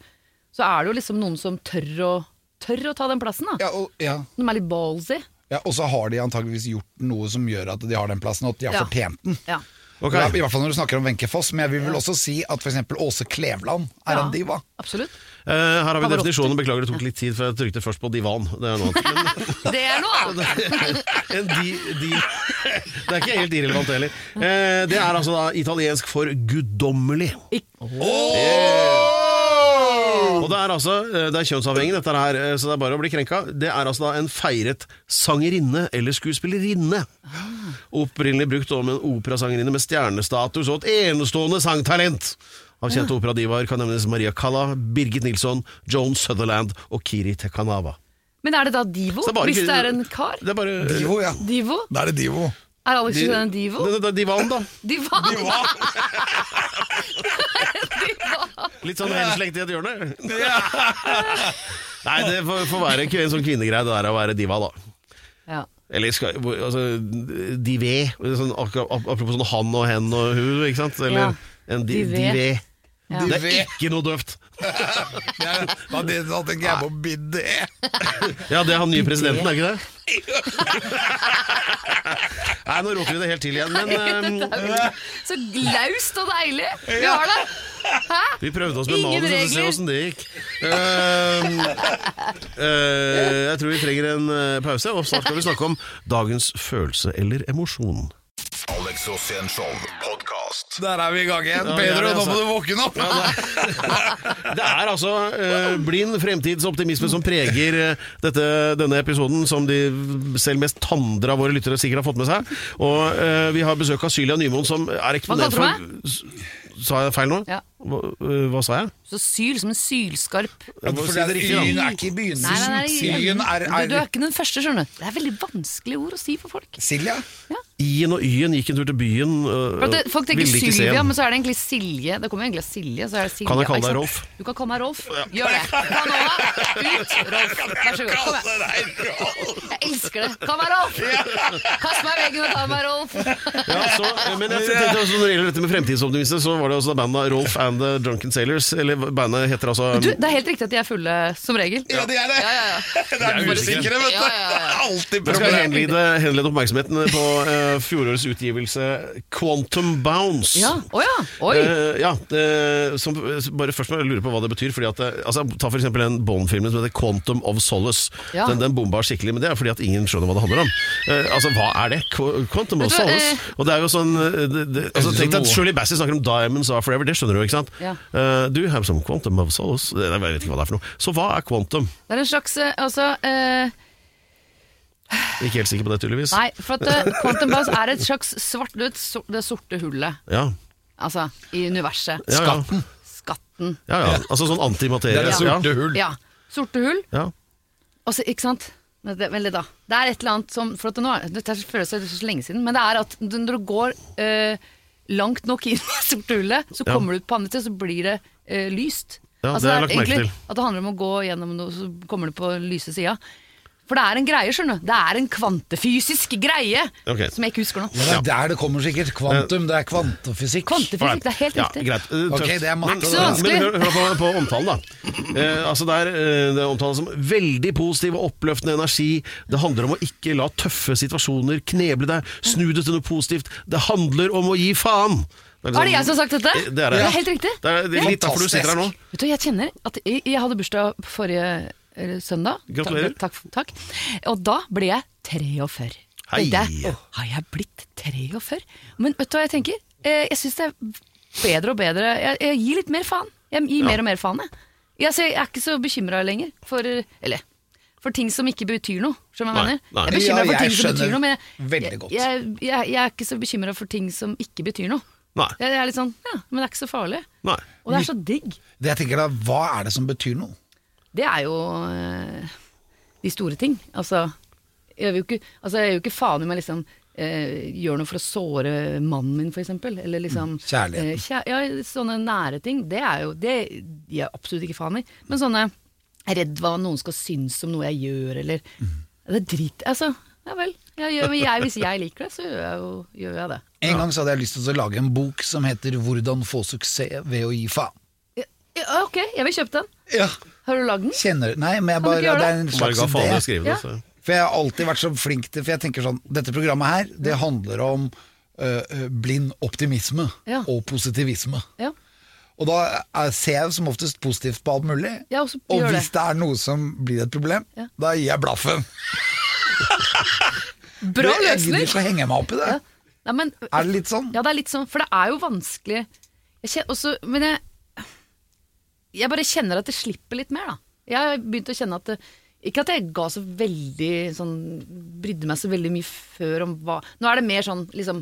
Speaker 4: Så er det jo liksom noen som tør å, tør å ta den plassen, da.
Speaker 1: Ja, og, ja.
Speaker 4: Som er litt ballsy.
Speaker 1: Ja, og så har de antageligvis gjort noe som gjør at de har den plassen, og at de har
Speaker 4: Ja.
Speaker 1: fortjent den.
Speaker 4: Ja.
Speaker 2: Ok.
Speaker 1: I hvert fall når du snakker om Wenche Foss, men jeg vil vel også si at f.eks. Åse Kleveland er
Speaker 4: Ja.
Speaker 1: en diva.
Speaker 4: Absolutt.
Speaker 2: Eh, her har vi
Speaker 4: Pavarotti.
Speaker 2: definisjonen. Beklager, det tok litt tid, for jeg trykte først på divan. Det er noe annet. Men,
Speaker 4: Det er noe annet.
Speaker 2: en di, di. Det er ikke helt irrelevant heller. Eh, det er altså da italiensk for guddommelig. Og det er altså eh, Det er kjønnsavhengig, dette her, eh, så det er bare å bli krenka. Det er altså da en feiret sangerinne eller skuespillerinne. Opprinnelig brukt om en operasangerinne med stjernestatus og et enestående sangtalent. Av kjente operadivaer kan nevnes Maria Calla, Birgit Nilsson, Joan Sutherland og Kiri Tekanava.
Speaker 4: Men er det da Divo?
Speaker 2: Så det er bare
Speaker 4: Hvis
Speaker 2: ikke-
Speaker 4: det er en kar?
Speaker 2: Det er bare
Speaker 1: Divo, ja.
Speaker 4: Divo?
Speaker 1: Da er det divo.
Speaker 4: Er Alex
Speaker 2: Di-
Speaker 4: Rosén en Divo?
Speaker 2: Det- det- det er Divan, da.
Speaker 4: Divan!
Speaker 2: Litt sånn henslengt i et hjørne. Nei, det får, får være ikke en sånn kvinnegreie, det der å være diva, da.
Speaker 4: Ja.
Speaker 2: Eller skal, hvor- altså, divé. Sånn, akkurat- apropos sånn han og hen og hun, ikke sant? Eller
Speaker 4: Ja.
Speaker 2: en di,
Speaker 4: Divé.
Speaker 2: divé.
Speaker 4: Ja.
Speaker 2: Det er ikke noe døvt.
Speaker 1: Ja, da, det, da tenker jeg på e? bidé.
Speaker 2: Ja, det er han nye presidenten, er ikke det? Nei, nå roter vi det helt til igjen, men eh,
Speaker 4: Så glaust og deilig vi har det! Hæ?
Speaker 2: vi prøvde oss med manus
Speaker 4: Ingen
Speaker 2: og se
Speaker 4: regler.
Speaker 2: åssen det gikk. Eh, eh, jeg tror vi trenger en eh, pause, og snart skal vi snakke om dagens følelse eller emosjon.
Speaker 3: Alex Rosén Show podcast.
Speaker 1: Der er vi i gang igjen.
Speaker 2: Ja, det er
Speaker 1: Pedro,
Speaker 2: det,
Speaker 1: nå
Speaker 2: altså.
Speaker 1: må du våkne opp!
Speaker 2: Det er altså eh, blind fremtidsoptimisme som preger eh, dette, denne episoden, som de selv mest tandre av våre lyttere sikkert har fått med seg. Og eh, vi har besøk av Sylia Nymoen, som er eksponert
Speaker 4: kalte du
Speaker 2: for S- Sa jeg feil nå?
Speaker 4: Ja.
Speaker 2: Hva, eh, hva sa jeg?
Speaker 4: Så syl som en sylskarp
Speaker 2: Jeg må
Speaker 1: For
Speaker 2: si det riktig, da.
Speaker 1: Syn er ikke i
Speaker 4: Nei, nei, nei,
Speaker 1: begynnelsen. Syn er,
Speaker 4: du, du er
Speaker 1: er
Speaker 4: ikke den første, skjønner du. Det er veldig vanskelige ord å si for folk.
Speaker 1: Silja?
Speaker 2: I-en og Y-en gikk en tur til byen.
Speaker 4: For
Speaker 2: Uh,
Speaker 4: at det, folk tenker Sylvia, men så er det egentlig Silje. Det kommer egentlig av Silje. Så er det Silje.
Speaker 2: Kan jeg kalle deg
Speaker 4: ikke sant?
Speaker 2: Rolf?
Speaker 4: Du kan kalle meg Rolf. Gjør det. Kanoa, ut, Rolf. Vær så god. Kom her. Jeg elsker det. Kall meg Rolf! Kast meg i veggen og kall meg Rolf.
Speaker 2: Ja, så, eh, men jeg tenkte også Når det gjelder dette med fremtidsoptimisme, så var det altså bandet Rolf and the Drunken Sailors. Eller bandet heter altså
Speaker 4: Du, det er helt riktig at de er fulle, som regel.
Speaker 1: Ja, det er det.
Speaker 4: Ja, ja, ja.
Speaker 1: Det er musikere, vet du.
Speaker 4: Ja, ja, ja.
Speaker 1: Alltid
Speaker 2: Jeg skal
Speaker 1: problem.
Speaker 2: henlede, henlede oppmerksomheten på eh, fjorårets utgivelse Quantum Bounce.
Speaker 4: Ja, å ja, oi.
Speaker 2: Eh, ja, eh, som, bare først må jeg lure på hva det betyr. Fordi at, det- altså, ta for eksempel den Bond-filmen som heter Quantum of Solace.
Speaker 4: Ja.
Speaker 2: Den, den bomba skikkelig, men det er fordi at ingen skjønner hva det handler om. Eh, altså, hva er det? Qu- Quantum of
Speaker 4: Vet du hva,
Speaker 2: Solace?
Speaker 4: eh,
Speaker 2: Og det er jo sånn eh, det, det, altså, Tenk deg at Shirley Bassey snakker om Diamonds Are Forever, det skjønner du, ikke sant?
Speaker 4: Ja.
Speaker 2: Eh, do you have some Quantum of Solace? Eh, Jeg vet ikke hva det er for noe. Så hva er quantum?
Speaker 4: Det er en slags eh, altså, eh,
Speaker 2: Ikke helt sikker på det, tydeligvis.
Speaker 4: Nei, for at eh, Quantum Bounce er et slags svart du vet, so- Det sorte hullet,
Speaker 2: Ja.
Speaker 4: altså, i universet.
Speaker 2: Ja, ja.
Speaker 4: Skatten.
Speaker 2: Ja, ja. Altså sånn antimaterie.
Speaker 1: Det er det sorte hull.
Speaker 4: Ja. Sorte hull.
Speaker 2: Ja.
Speaker 4: Og så, Altså, ikke sant? Men det- Vent litt, da. Det er et eller annet som For at nå, er- Dette føles det så lenge siden, men det er at du- når du går eh, langt nok inn i sorte hullet, så
Speaker 2: Ja.
Speaker 4: kommer du ut på andre siden, så blir det eh, lyst.
Speaker 2: Ja, det har jeg
Speaker 4: er
Speaker 2: lagt merke
Speaker 4: egentlig
Speaker 2: til.
Speaker 4: At det handler om å gå gjennom noe, så kommer du på lyse sida. For det er en greie, skjønner du. Det er en kvantefysisk greie
Speaker 2: Ok.
Speaker 4: som jeg ikke husker nå.
Speaker 1: Men det er der det kommer sikkert. Kvantum, det er kvantefysikk.
Speaker 4: Kvantefysikk, det er helt
Speaker 2: ja,
Speaker 4: riktig.
Speaker 2: greit. Eh,
Speaker 1: Ok,
Speaker 2: tøft.
Speaker 1: det er matte,
Speaker 2: Men-
Speaker 1: det
Speaker 4: er vanskelig.
Speaker 2: Men hør, hør på, på omtalen, da. Eh, altså det, er, eh, det er omtalen som veldig positiv og oppløftende energi. Det handler om å ikke la tøffe situasjoner kneble deg. Snu det til noe positivt. Det handler om å gi faen. Det
Speaker 4: Var det jeg som har sagt dette?
Speaker 2: Eh, Det er, det.
Speaker 4: Det er helt riktig.
Speaker 2: Det er, det er litt derfor du sitter her nå.
Speaker 4: Vet du, jeg kjenner at jeg, jeg hadde bursdag på forrige eh, søndag.
Speaker 2: Gratulerer.
Speaker 4: Takk, takk, takk. Og da ble jeg 43.
Speaker 2: Hei.
Speaker 4: Tenkte jeg, «Åh, Har jeg blitt 43? Men vet du hva jeg tenker? Eh, Jeg syns det er bedre og bedre. Jeg, jeg gir litt mer faen. Jeg gir mer og mer faen, jeg. Jeg, ser, jeg er ikke så bekymra lenger for Eller for ting som ikke betyr noe. Skjønner du hva
Speaker 2: Nei,
Speaker 4: jeg mener?
Speaker 1: Ja,
Speaker 2: nei.
Speaker 4: Jeg er bekymra for
Speaker 1: jeg
Speaker 4: ting som betyr
Speaker 1: skjønner
Speaker 4: noe, men jeg,
Speaker 1: veldig godt.
Speaker 4: jeg, jeg, jeg er ikke så bekymra for ting som ikke betyr noe.
Speaker 2: Nei.
Speaker 4: Jeg, jeg er litt sånn Ja, men det er ikke så farlig.
Speaker 2: Nei.
Speaker 4: Og det er så digg.
Speaker 1: Det jeg tenker da, Hva er det som betyr noe?
Speaker 4: Det er jo eh, de store ting. Altså, jeg vil jo ikke, altså, jeg er jo ikke faen om jeg liksom eh, gjør noe for å såre mannen min, for eksempel. Eller liksom
Speaker 1: Mm, kjærligheten.
Speaker 4: eh, kjær- ja, sånne nære ting. Det er jo Det gir jeg absolutt ikke faen i. Men sånne jeg er redd hva noen skal synes om noe jeg gjør, eller
Speaker 1: Mm.
Speaker 4: Det er drit... Altså, ja vel. Jeg gjør, men jeg, hvis jeg liker det, så gjør jeg, jo, gjør jeg det.
Speaker 1: En gang så hadde jeg lyst til å lage en bok som heter 'Hvordan få suksess ved å gi faen'.
Speaker 4: Ja, ja, ok, jeg vil kjøpe den.
Speaker 1: Ja,
Speaker 4: Har du lagd den?
Speaker 1: kjenner Nei, men jeg
Speaker 4: Kan du
Speaker 1: bare
Speaker 4: ikke gjøre
Speaker 1: Det er en
Speaker 4: det?
Speaker 2: Bare
Speaker 1: slags
Speaker 2: ga faen i å
Speaker 1: idé.
Speaker 2: skrive det. Så.
Speaker 1: For jeg har alltid vært så flink til For jeg tenker sånn Dette programmet her, det handler om øh, øh, blind optimisme
Speaker 4: Ja.
Speaker 1: og positivisme.
Speaker 4: Ja.
Speaker 1: Og da er- ser jeg som oftest positivt på alt mulig.
Speaker 4: Ja, og så
Speaker 1: og
Speaker 4: gjør
Speaker 1: hvis det.
Speaker 4: det.
Speaker 1: er noe som blir et problem,
Speaker 4: Ja.
Speaker 1: da gir jeg blaffen.
Speaker 4: Bra
Speaker 1: Jeg gidder
Speaker 4: løsning!
Speaker 1: ikke å henge meg opp i det.
Speaker 4: Ja. Nei, men,
Speaker 1: Er det litt sånn?
Speaker 4: Ja, det er litt sånn, for det er jo vanskelig. Jeg kjen- også, men jeg, jeg bare kjenner at det slipper litt mer, da. Jeg har begynt å kjenne at det, Ikke at jeg ga så veldig sånn Brydde meg så veldig mye før om hva Nå er det mer sånn liksom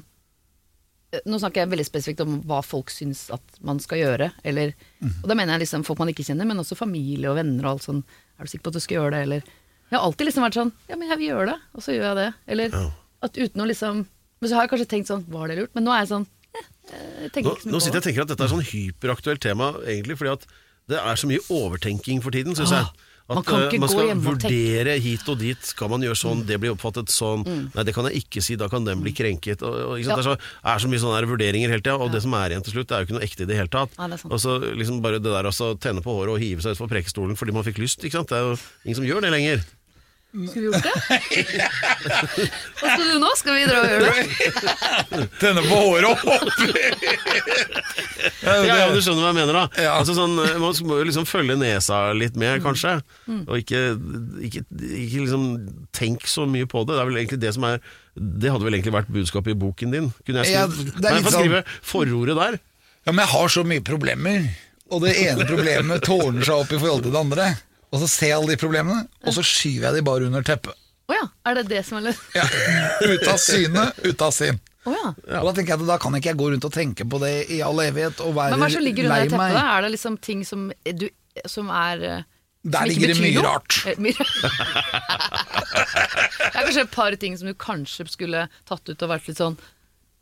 Speaker 4: eh, Nå snakker jeg veldig spesifikt om hva folk syns at man skal gjøre, eller
Speaker 2: Mhm.
Speaker 4: Og da mener jeg liksom folk man ikke kjenner, men også familie og venner og alt sånn. Er du sikker på at du skal gjøre det, eller Jeg har alltid liksom vært sånn Ja, men jeg vil gjøre det, og så gjør jeg det. Eller at uten å liksom Men så har jeg kanskje tenkt sånn Var det lurt? Men nå er jeg sånn eh, jeg tenker
Speaker 2: Nå,
Speaker 4: ikke så mye
Speaker 2: nå
Speaker 4: på
Speaker 2: sitter jeg
Speaker 4: det.
Speaker 2: og tenker at dette er sånn hyperaktuelt tema, egentlig, fordi at det er så mye overtenking for tiden, syns
Speaker 4: Ah,
Speaker 2: jeg. At
Speaker 4: man kan ikke
Speaker 2: eh, man
Speaker 4: gå
Speaker 2: skal
Speaker 4: hjemme og tenke. Mm.
Speaker 2: vurdere hit og dit. Skal man gjøre sånn? Det blir oppfattet sånn. Nei, det kan jeg ikke si. Da kan den bli krenket. Og, og, ikke sant?
Speaker 4: Ja.
Speaker 2: Det er så, er så mye sånne her vurderinger hele tida, og det som er igjen til slutt, det er jo ikke noe ekte i det hele tatt.
Speaker 4: Nei, det er sant.
Speaker 2: og så liksom bare det der å altså, tenne på håret og hive seg utfor prekestolen fordi man fikk lyst, ikke sant. Det er jo ingen som gjør det lenger.
Speaker 4: Skulle vi gjort det? Hva skal du nå? Skal vi dra og gjøre det?
Speaker 1: Tenne på håret og hoppe
Speaker 2: Ja, ja,
Speaker 1: i!
Speaker 2: du skjønner hva jeg mener da
Speaker 1: Ja. Mm.
Speaker 2: altså, sånn, Man må jo liksom følge nesa litt mer kanskje Og ikke, ikke, ikke liksom tenk så mye på det Det er vel egentlig det som er Det hadde vel egentlig vært budskapet i boken din Kunne jeg
Speaker 1: Ja,
Speaker 2: skrive
Speaker 1: det er
Speaker 2: Kan jeg
Speaker 1: litt sånn-
Speaker 2: få skrive forordet der
Speaker 1: Ja, men jeg har så mye problemer, og det ene problemet tårner seg opp i forhold til det andre. Og så ser jeg alle de problemene, og så skyver jeg de bare under teppet.
Speaker 4: Å ja, er det det som er litt
Speaker 1: Ja. Ute av syne, ute av sinn.
Speaker 4: Å ja.
Speaker 1: Og Da tenker jeg at da kan ikke jeg gå rundt og tenke på det i all evighet og være
Speaker 4: Men hva er det som ligger under
Speaker 1: lei
Speaker 4: det teppet?
Speaker 1: meg.
Speaker 4: da? Er det liksom ting som du som er eh,
Speaker 1: Der
Speaker 4: som
Speaker 1: ligger
Speaker 4: ikke
Speaker 1: det
Speaker 4: betyr
Speaker 1: mye
Speaker 4: noe?
Speaker 1: rart.
Speaker 4: Eh, Mye rart. det er kanskje et par ting som du kanskje skulle tatt ut og vært litt sånn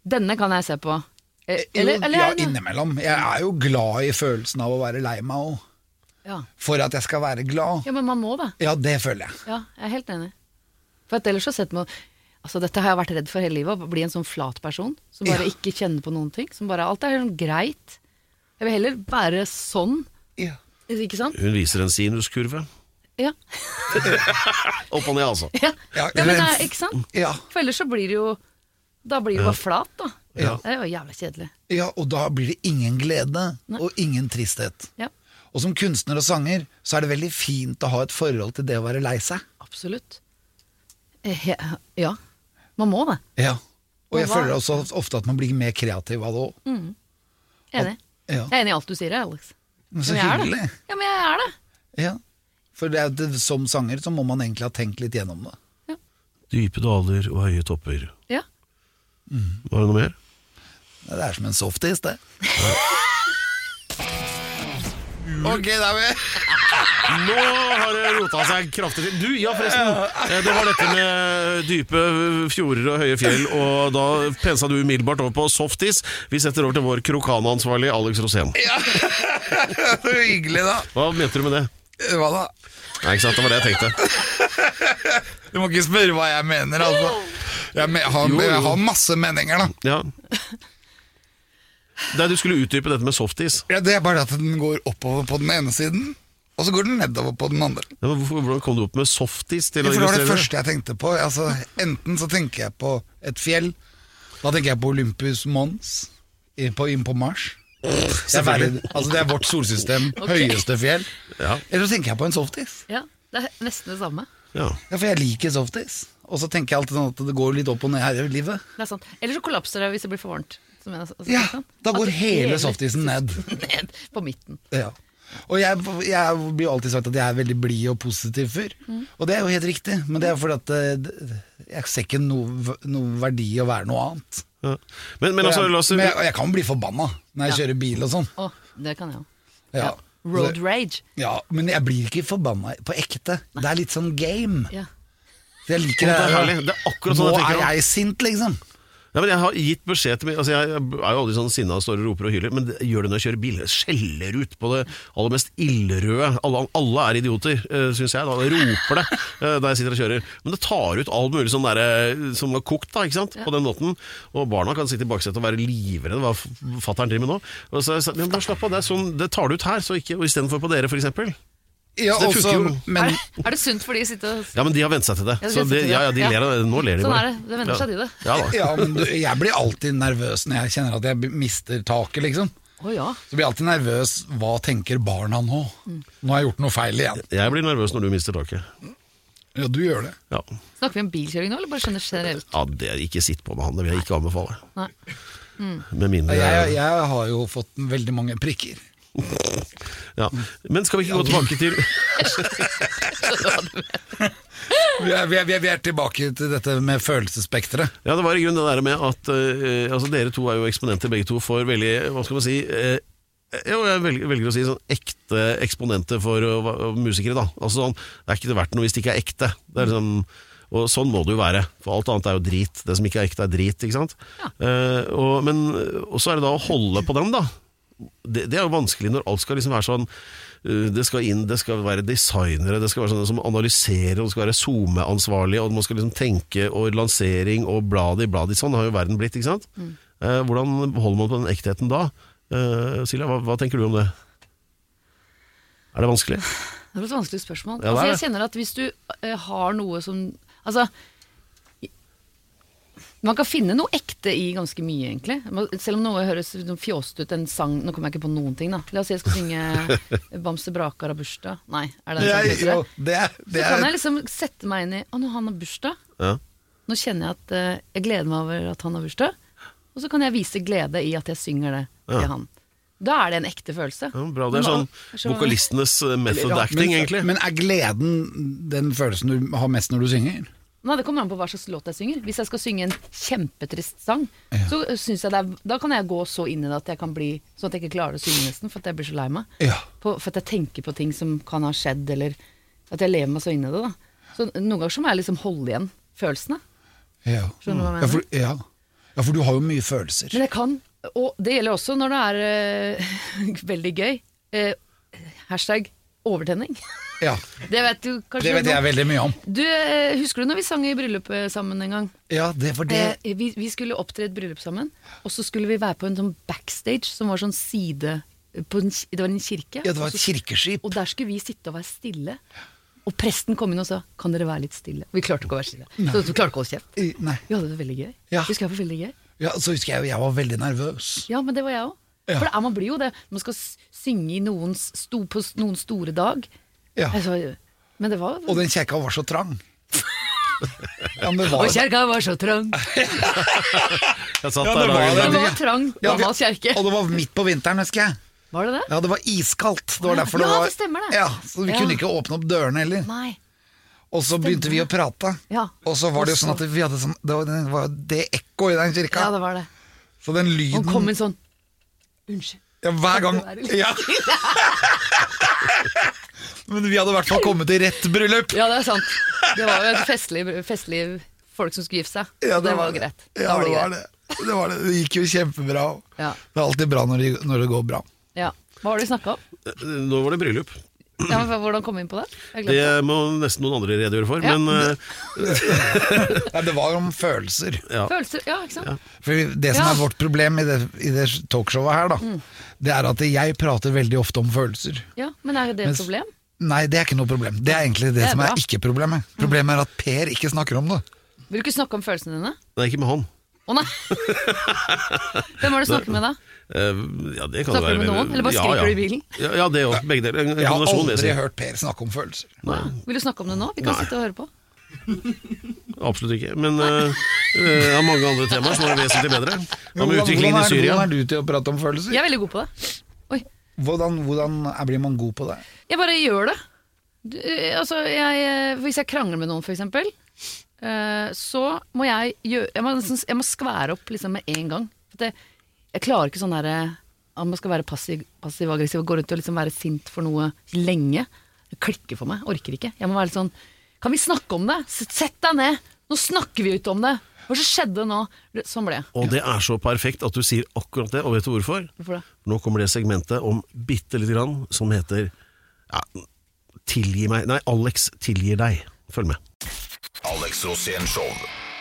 Speaker 4: Denne kan jeg se på. Eh, Eller,
Speaker 1: Jo,
Speaker 4: eller
Speaker 1: ja,
Speaker 4: er det-
Speaker 1: innimellom. Jeg er jo glad i følelsen av å være lei meg òg.
Speaker 4: ja.
Speaker 1: For at jeg skal være glad.
Speaker 4: ja, men man må det.
Speaker 1: Ja, det føler jeg.
Speaker 4: Ja, jeg er helt enig. For at ellers så setter man Altså Dette har jeg vært redd for hele livet, å bli en sånn flat person som bare
Speaker 1: Ja.
Speaker 4: ikke kjenner på noen ting. Som bare Alt er sånn greit. Jeg vil heller være sånn, ikke sant?
Speaker 2: Hun viser en sinuskurve
Speaker 4: Ja.
Speaker 2: Opp og ned altså
Speaker 4: ja.
Speaker 1: Ja,
Speaker 4: ja men det
Speaker 1: eller-
Speaker 4: er, ikke sant?
Speaker 1: Ja.
Speaker 4: For ellers så blir det jo Da blir det jo bare flat, da.
Speaker 1: Ja.
Speaker 4: Det er jo jævla kjedelig.
Speaker 1: Ja, og da blir det ingen glede og ingen tristhet.
Speaker 4: Ja,
Speaker 1: Og som kunstner og sanger så er det veldig fint å ha et forhold til det å være lei seg.
Speaker 4: absolutt. Eh, he- Ja. Man må det.
Speaker 1: Ja. Og
Speaker 4: Og
Speaker 1: jeg
Speaker 4: hva- Mm.
Speaker 1: føler også ofte at man blir mer kreativ av det òg.
Speaker 4: Enig.
Speaker 1: Ja.
Speaker 4: Jeg er enig i alt du sier, jeg, Alex.
Speaker 1: Men så
Speaker 4: Men jeg er det.
Speaker 1: hyggelig.
Speaker 4: Ja, men jeg er det.
Speaker 1: Ja. For det er, det, som sanger så må man egentlig ha tenkt litt gjennom det.
Speaker 2: Dype daler og høye topper
Speaker 4: Ja.
Speaker 2: Var det noe mer?
Speaker 1: Det er som en softis, det. ok, da er vi
Speaker 2: Nå har det rota seg kraftig til. Du, ja forresten. eh, Det var dette med eh, dype fjorder og høye fjell, og da pensa du umiddelbart over på softis. Vi setter over til vår krokanansvarlig Alex Rosén.
Speaker 1: Så hyggelig, da.
Speaker 2: Hva mente du med det?
Speaker 1: Hva da?
Speaker 2: Nei, ikke sant, det var det jeg tenkte.
Speaker 1: Du må ikke spørre hva jeg mener, altså. Jeg, me har,
Speaker 2: Jo, jo.
Speaker 1: jeg har masse meninger, da.
Speaker 2: Ja. Nei, du skulle utdype dette med softis.
Speaker 1: Ja, det er bare at den går oppover på den ene siden, og så går den nedover på den andre.
Speaker 2: Ja, men hvorfor- Hvordan kom du opp med softis til å
Speaker 1: Ja, For det var det
Speaker 2: illustrere? det?
Speaker 1: første jeg tenkte på. Altså, enten så tenker jeg på et fjell, da tenker jeg på Olympus Mons i- på, inn på Mars. Det er, verden- altså, det er vårt solsystem, høyeste fjell.
Speaker 2: Ja.
Speaker 1: Eller så tenker jeg på en softis.
Speaker 4: ja. Det er nesten det samme.
Speaker 2: Ja.
Speaker 1: Ja, for jeg liker softis. Og så tenker jeg alltid sånn at det går litt opp og ned her i livet.
Speaker 4: Det er sant. Eller så kollapser det hvis det blir for varmt. Som jeg, altså,
Speaker 1: Ja,
Speaker 4: ikke sant?
Speaker 1: da går
Speaker 4: At
Speaker 1: hele softisen ned.
Speaker 4: ned på midten.
Speaker 1: Ja. Og jeg, jeg blir jo alltid sagt at jeg er veldig blid og positiv fyr. Og det er jo helt riktig, men det er fordi at eh, det- jeg ser ikke noe, noe verdi i å være noe annet.
Speaker 2: Ja. Men, men
Speaker 1: Og
Speaker 2: altså,
Speaker 1: jeg,
Speaker 2: la oss
Speaker 1: men jeg, og jeg kan bli forbanna når jeg kjører bil og sånn.
Speaker 4: Å, det kan jeg òg.
Speaker 1: Ja.
Speaker 4: Road rage.
Speaker 1: ja, Men jeg blir ikke forbanna på ekte. Det er litt sånn game.
Speaker 4: Ja.
Speaker 1: Så jeg liker
Speaker 2: Det er
Speaker 1: her.
Speaker 2: herlig. Det er akkurat
Speaker 1: Nå
Speaker 2: sånn jeg tenker
Speaker 1: er
Speaker 2: også.
Speaker 1: jeg sint, liksom.
Speaker 2: Ja, men jeg har gitt beskjed til min altså Jeg er jo aldri sånn sinna og står og roper og hyler, men det- gjør det når jeg kjører bil. Jeg Skjeller ut på det aller mest ildrøde. Alle, alle er idioter, syns jeg. da Jeg roper det eh, der jeg sitter og kjører. Men det tar ut all mulig sånn derre som var kokt, da, ikke sant? På den måten. Og barna kan sitte i baksetet og være livredde hva fatter'n driver med nå. Og så har jeg sagt, ja, men slapp av, det, er sånn, det tar du ut her, så ikke, og istedenfor på dere, f.eks.
Speaker 1: Ja,
Speaker 2: Så det
Speaker 1: også,
Speaker 2: funker jo.
Speaker 1: men
Speaker 4: er, det, er det sunt for de å sitte og
Speaker 2: Ja, men de har vent seg til det.
Speaker 4: Ja, de har
Speaker 2: så
Speaker 4: vent seg
Speaker 2: det
Speaker 4: til det.
Speaker 2: ja, ja, de
Speaker 4: Ja.
Speaker 2: ler av det. Nå ler de
Speaker 4: Sånn
Speaker 2: bare.
Speaker 4: er det. Det vender
Speaker 2: ja.
Speaker 4: seg til det.
Speaker 2: Ja da.
Speaker 1: ja, men du, jeg blir alltid nervøs når jeg kjenner at jeg b- mister taket, liksom.
Speaker 4: Å ja.
Speaker 1: Så blir jeg alltid nervøs. Hva tenker barna nå? Nå har jeg gjort noe feil igjen.
Speaker 2: Jeg blir nervøs når du mister taket.
Speaker 1: Ja, du gjør det.
Speaker 2: Ja.
Speaker 4: Snakker vi om bilkjøring nå, eller bare skjønner generelt?
Speaker 2: Ja, det er ikke sitt på med han, det vil jeg ikke anbefale.
Speaker 4: Nei. Mm.
Speaker 2: Med mindre
Speaker 1: Jeg, jeg har jo fått veldig mange prikker.
Speaker 2: ja. Men skal vi ikke gå tilbake til
Speaker 1: Vi er, vi er, vi er- vi er tilbake til dette med følelsesspekteret.
Speaker 2: Ja, det var i grunnen det der med at eh, altså Dere to er jo eksponenter begge to for veldig Hva skal man si eh, jo, jeg velger, velger å si sånn ekte eksponenter for eh, hva- musikere, da. Altså sånn, Det er ikke verdt noe hvis det ikke er ekte. Det er liksom, og sånn må det jo være, for alt annet er jo drit. Det som ikke er ekte, er drit. ikke sant? Eh, og, men, og så er det da å holde på den, da. det, det er jo vanskelig når alt skal liksom være sånn uh, Det skal inn, det skal være designere, det skal være sånne som analyserer, og det skal være SoMe-ansvarlige, og man skal liksom tenke og lansering og bladi, bladi. Sånn har jo verden blitt, ikke sant? Eh, hvordan holder man på den ektheten da? Eh, Silja, hva, hva tenker du om det? Er det vanskelig?
Speaker 4: Det Det var et vanskelig spørsmål.
Speaker 2: Ja, det er
Speaker 4: altså, jeg
Speaker 2: det.
Speaker 4: kjenner at hvis du eh, har noe som Altså i- Man kan finne noe ekte i ganske mye, egentlig. Man- Selv om noe høres sånn fjost ut, en sang Nå kommer jeg ikke på noen ting, da. La oss si jeg skal synge 'Bamse Brakar har bursdag'. Nei, er det den sangen?
Speaker 1: Jeg,
Speaker 4: heter
Speaker 1: jo,
Speaker 4: det?
Speaker 1: det, det
Speaker 4: Så kan jeg
Speaker 1: er
Speaker 4: liksom sette meg inn i Å, nå han har bursdag.
Speaker 2: Ja.
Speaker 4: Nå kjenner jeg at eh, jeg gleder meg over at han har bursdag. Og så kan jeg vise glede i at jeg synger det til
Speaker 2: Ja.
Speaker 4: han. Da er det en ekte følelse.
Speaker 2: Ja, bra, det
Speaker 4: Men,
Speaker 2: er sånn
Speaker 4: å, jeg skjønner-
Speaker 2: vokalistenes eh, method
Speaker 1: Ja,
Speaker 2: acting,
Speaker 1: men,
Speaker 2: egentlig.
Speaker 1: Men er gleden den følelsen du har mest når du synger?
Speaker 4: Nei, Det kommer an på hva slags låt jeg synger. Hvis jeg skal synge en kjempetrist sang, så synes jeg det er, da kan jeg gå så inn i det at jeg kan bli sånn at jeg ikke klarer å synge nesten, for at jeg blir så lei meg.
Speaker 1: Ja.
Speaker 4: På, for at jeg tenker på ting som kan ha skjedd, eller at jeg lever meg så inn i det. da Så Noen ganger så må jeg liksom holde igjen følelsene.
Speaker 1: Ja.
Speaker 4: Skjønner du hva jeg
Speaker 1: Ja, for, ja. ja, for du har jo mye følelser.
Speaker 4: Men jeg kan, og det gjelder også når det er eh, veldig gøy, eh, hashtag overtenning.
Speaker 1: Ja,
Speaker 4: Det vet du kanskje
Speaker 1: Det vet jeg veldig mye om.
Speaker 4: Du, eh, Husker du når vi sang i bryllupet sammen en gang?
Speaker 1: Ja, det er for det
Speaker 4: Eh, vi, vi skulle opptre i et bryllup sammen, og så skulle vi være på en sånn backstage som var sånn side eh, på en, ki- Det var en kirke.
Speaker 1: Ja, det var
Speaker 4: og
Speaker 1: et
Speaker 4: så-
Speaker 1: kirkeskip.
Speaker 4: Og der skulle vi sitte og være stille. Og presten kom inn og sa 'kan dere være litt stille'? Vi klarte ikke å være stille. Så vi klarte ikke å holde kjeft.
Speaker 1: I- Nei.
Speaker 4: Vi hadde det veldig gøy.
Speaker 1: Ja.
Speaker 4: Vi skulle ha det veldig gøy.
Speaker 1: Ja, så husker jeg jo jeg var veldig nervøs.
Speaker 4: Ja, men det var jeg òg.
Speaker 1: Ja.
Speaker 4: For det er, man blir jo det. Man skal s- synge i noens sto, på s- noen store dag.
Speaker 1: Ja.
Speaker 4: Jeg sa, men det var
Speaker 1: Og den kjerka var så trang. Ja, men det var
Speaker 4: Og kjerka var så trang.
Speaker 2: Jeg satt
Speaker 1: Ja,
Speaker 2: der
Speaker 1: det var
Speaker 2: dagen
Speaker 1: det.
Speaker 4: Det
Speaker 2: lang.
Speaker 4: var trang,
Speaker 1: Ja,
Speaker 4: gammel kjerke.
Speaker 1: Og det var midt på vinteren, husker jeg.
Speaker 4: Var det det?
Speaker 1: Ja, det var iskaldt. Det var
Speaker 4: Ja,
Speaker 1: derfor det
Speaker 4: ja,
Speaker 1: var
Speaker 4: det stemmer det.
Speaker 1: Ja, så vi
Speaker 4: Ja.
Speaker 1: kunne ikke åpne opp dørene heller.
Speaker 4: Nei.
Speaker 1: Og så begynte vi å prate.
Speaker 4: Ja.
Speaker 1: Og så var det jo
Speaker 4: Og så-
Speaker 1: sånn at vi hadde sånn Det var, det var det ekko i den kirka.
Speaker 4: Ja, det var det.
Speaker 1: Så den
Speaker 4: Han
Speaker 1: lyden
Speaker 4: kom inn sånn Unnskyld.
Speaker 1: ja, hver gang
Speaker 4: Kan du være
Speaker 1: ja. Men vi hadde i hvert fall kommet i rett bryllup.
Speaker 4: Ja, det er sant. Det var jo et festlig, festlig folk som skulle gifte seg.
Speaker 1: Ja,
Speaker 4: Så det, var jo greit. Da
Speaker 1: Ja, det var
Speaker 4: greit.
Speaker 1: det. Det, var det. det gikk jo kjempebra.
Speaker 4: Ja.
Speaker 1: Det er alltid bra når det, når det går bra.
Speaker 4: Ja. Hva var det vi snakka om?
Speaker 2: Eh, Nå var det bryllup.
Speaker 4: Ja, men hvordan kom vi inn på det? Jeg
Speaker 2: Det
Speaker 4: glemte det.
Speaker 2: må nesten noen andre redegjøre for.
Speaker 4: Ja.
Speaker 2: Men eh,
Speaker 1: Nei, det var om følelser.
Speaker 2: ja.
Speaker 4: Følelser, ja, ikke sant?
Speaker 1: For det som
Speaker 4: Ja. Mm.
Speaker 1: er vårt problem i det, i det talkshowet her, da, det er at jeg prater veldig ofte om følelser.
Speaker 4: Ja, Men er det
Speaker 1: Mens-
Speaker 4: et problem?
Speaker 1: Nei, det er ikke noe problem. Det er egentlig det,
Speaker 4: Det er
Speaker 1: som
Speaker 4: bra. Mm.
Speaker 1: er ikke problemet. Problemet er at Per ikke snakker om det.
Speaker 4: Vil du ikke snakke om følelsene dine?
Speaker 2: Nei, ikke med han.
Speaker 4: Å nei! Hvem var det du snakket med da?
Speaker 2: Eh, ja, det kan det
Speaker 4: Snakker
Speaker 2: være
Speaker 4: du med
Speaker 2: vel-
Speaker 4: noen, eller bare
Speaker 2: Ja,
Speaker 4: skriker
Speaker 2: ja.
Speaker 4: du i bilen?
Speaker 2: Ja, ja det òg. Begge deler. En
Speaker 1: Jeg har
Speaker 2: kombinasjon, vil jeg
Speaker 1: aldri
Speaker 2: si.
Speaker 1: hørt Per snakke om følelser.
Speaker 4: Vil du snakke om det nå? Vi kan
Speaker 2: Nei.
Speaker 4: sitte og høre på.
Speaker 2: Absolutt ikke. Men eh, eh, jeg har mange andre temaer som er vesentlig bedre. Hva med
Speaker 1: Hvordan-
Speaker 2: utviklingen
Speaker 1: hvordan
Speaker 2: i
Speaker 1: er-
Speaker 2: Syria?
Speaker 1: Hvordan er du til å prate om følelser?
Speaker 4: Jeg er veldig god på det. Oi.
Speaker 1: Hvordan, hvordan er- blir man god på det?
Speaker 4: Jeg bare gjør det. Du, eh, altså, jeg, eh, hvis jeg krangler med noen, for eksempel, eh, så må jeg gjøre Jeg må, nesten- jeg må skvære opp liksom, med en gang. For det, jeg klarer ikke sånn derre at man skal være passiv, passiv aggressiv og gå rundt og liksom være sint for noe lenge. Det klikker for meg. Orker ikke. Jeg må være litt sånn Kan vi snakke om det? S- Sett deg ned! Nå snakker vi ut om det! Hva så skjedde nå? Sånn ble jeg.
Speaker 2: Og det er så perfekt at du sier akkurat det, og vet du hvorfor?
Speaker 4: Hvorfor det?
Speaker 2: Nå kommer det segmentet om bitte lite grann som heter ja, Tilgi meg Nei, Alex tilgir deg. Følg med.
Speaker 3: Alex Rosén Show.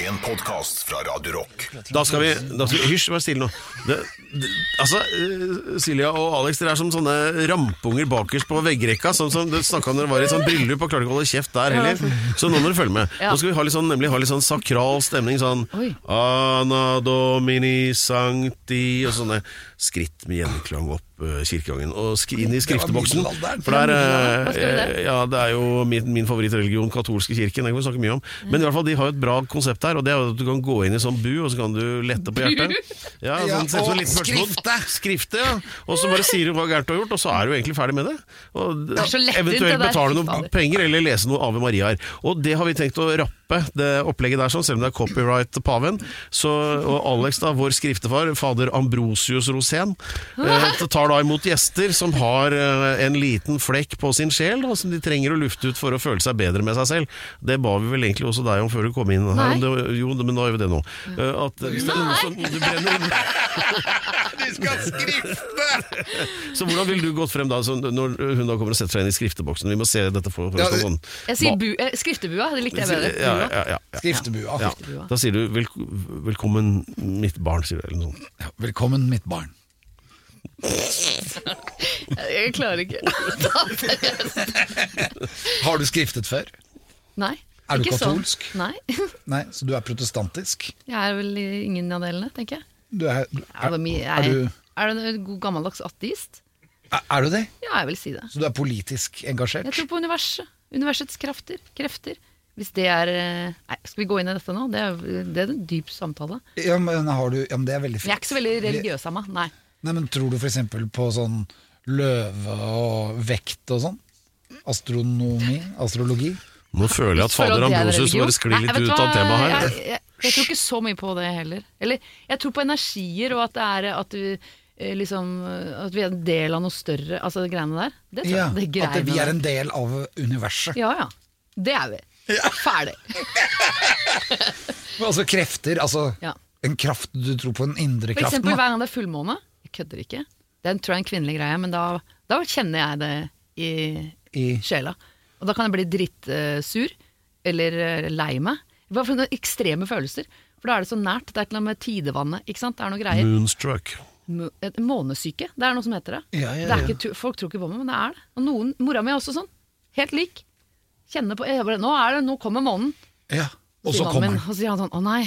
Speaker 3: En podkast fra Radio Rock.
Speaker 2: Da skal vi, da skal vi Hysj, vær stille nå. Det, det, altså, eh, Silja og Alex, dere er som sånne rampunger bakerst på veggrekka. Sånn som du snakka om dere var i et sånt bryllup og klarte ikke å holde kjeft der heller. Så nå må dere følge med.
Speaker 4: Ja.
Speaker 2: Nå skal vi ha litt sånn, nemlig ha litt sånn sakral stemning. Sånn
Speaker 4: Oi.
Speaker 2: Ana domini sancti Og sånne skritt med gjenklang opp eh, kirkegangen. Og sk inn i skrifteboksen.
Speaker 1: middelalderen.
Speaker 2: For der, eh,
Speaker 4: Hva står det der?
Speaker 2: ja, det er jo min, min favorittreligion, katolske kirken. Den kan vi snakke mye om.
Speaker 4: Mm.
Speaker 2: Men i hvert fall, de har jo et bra konsept her, og det er jo at du kan gå inn i sånn bu, og så kan du lette på hjertet.
Speaker 1: Ja,
Speaker 2: Ja, sånn, sånn,
Speaker 1: og
Speaker 2: sånn, liten pølsebod.
Speaker 1: skrifte.
Speaker 2: Skrifte, ja. Og så bare sier du hva gærent du har gjort, og så er du egentlig ferdig med det. Og
Speaker 4: er så lettvint, det
Speaker 2: eventuelt
Speaker 4: der.
Speaker 2: betale
Speaker 4: Fy fader.
Speaker 2: noen penger, eller lese noe Ave Mariaer. Og det har vi tenkt å rappe, det opplegget der, sånn, selv om det er copyright paven. Så, og Alex, da, vår skriftefar, fader Ambrosius Rosén, eh, tar da imot gjester som har eh, en liten flekk på sin sjel, da, som de trenger å lufte ut for å føle seg bedre med seg selv. Det ba vi vel egentlig også deg om før du kom inn her.
Speaker 4: Nei.
Speaker 2: om det- Jo, men da gjør vi det nå. Eh, At hvis det er noe som du brenner inne
Speaker 1: Du skal skrifte!
Speaker 2: så hvordan vil du gått frem da, så når hun da kommer og setter seg inn i skrifteboksen? Vi må se dette for for
Speaker 1: Ja,
Speaker 2: oss. på sånn.
Speaker 4: Jeg sier bu, eh, skriftebua. Det likte jeg
Speaker 2: Ja,
Speaker 4: bedre. Bua.
Speaker 2: ja, ja, ja.
Speaker 1: Skriftebua.
Speaker 2: Ja. Da sier du velk 'velkommen, mitt barn', sier du, eller noe sånt.
Speaker 1: Velkommen, mitt barn.
Speaker 4: Jeg klarer ikke. Ta seriøst.
Speaker 1: Har du skriftet før?
Speaker 4: Nei.
Speaker 1: Er du
Speaker 4: ikke sånn.
Speaker 1: katolsk?
Speaker 4: Nei.
Speaker 1: Nei, så du er protestantisk?
Speaker 4: Jeg er vel i ingen av delene, tenker jeg.
Speaker 1: Du er, du-
Speaker 4: Er,
Speaker 1: er,
Speaker 4: er,
Speaker 1: er,
Speaker 4: du...
Speaker 1: du,
Speaker 4: er du en god gammeldags ateist?
Speaker 1: er, er du det?
Speaker 4: Ja, jeg vil si det.
Speaker 1: Så du er politisk engasjert?
Speaker 4: Jeg tror på universet. Universets krafter. Krefter. Hvis det er eh, Nei, skal vi gå inn i dette nå? Det er, det er en dyp samtale.
Speaker 1: Ja, men, har du, ja, men det er veldig
Speaker 4: Jeg er
Speaker 1: fint.
Speaker 4: ikke så veldig religiøs av meg, nei.
Speaker 1: Nei, men tror du for eksempel på sånn løve og vekt og sånn? Astronomi? Astrologi?
Speaker 2: Nå føler jeg at
Speaker 4: Føler
Speaker 2: fader
Speaker 4: at jeg er
Speaker 2: Ambrosius
Speaker 4: religion.
Speaker 2: bare sklir
Speaker 4: Nei,
Speaker 2: litt
Speaker 4: vet du
Speaker 2: ut av
Speaker 4: hva?
Speaker 2: temaet her.
Speaker 4: Jeg, jeg, jeg tror ikke så mye på det heller. Eller, jeg tror på energier, og at det er eh, at du eh, Liksom, eh, at vi er en del av noe større, altså de greiene der. Det tror jeg.
Speaker 1: Ja,
Speaker 4: det
Speaker 1: at vi er
Speaker 4: der.
Speaker 1: en del av universet.
Speaker 4: Ja, ja. Det er vi. Ferdig.
Speaker 1: Altså krefter, altså
Speaker 4: Ja.
Speaker 1: en kraft du tror på, den indre
Speaker 4: For
Speaker 1: kraften.
Speaker 4: eksempel
Speaker 1: da.
Speaker 4: hver gang det er fullmåne. Jeg kødder ikke. Det er, tror jeg er en kvinnelig greie, men da, da kjenner jeg det i,
Speaker 1: I-
Speaker 4: sjela. Og da kan jeg bli drittsur, eller eh, lei meg. Hva for noen ekstreme følelser? For da er det så nært. Det er et eller annet med tidevannet, ikke sant. Det er noen
Speaker 1: Mm.
Speaker 4: greier.
Speaker 2: Moonstruck.
Speaker 4: Mo- et månesyke. Det er noe som heter det.
Speaker 1: Ja, ja,
Speaker 4: det er
Speaker 1: ja.
Speaker 4: ikke, tu- folk tror ikke på meg, men det er det. Og noen, mora mi er også sånn. Helt lik. Kjenner på jeg bare, nå, er det, nå kommer månen.
Speaker 1: Ja, og
Speaker 4: sier
Speaker 1: så
Speaker 4: mannen
Speaker 1: kommer
Speaker 4: min,
Speaker 1: den.
Speaker 4: Og så sier han sånn å nei.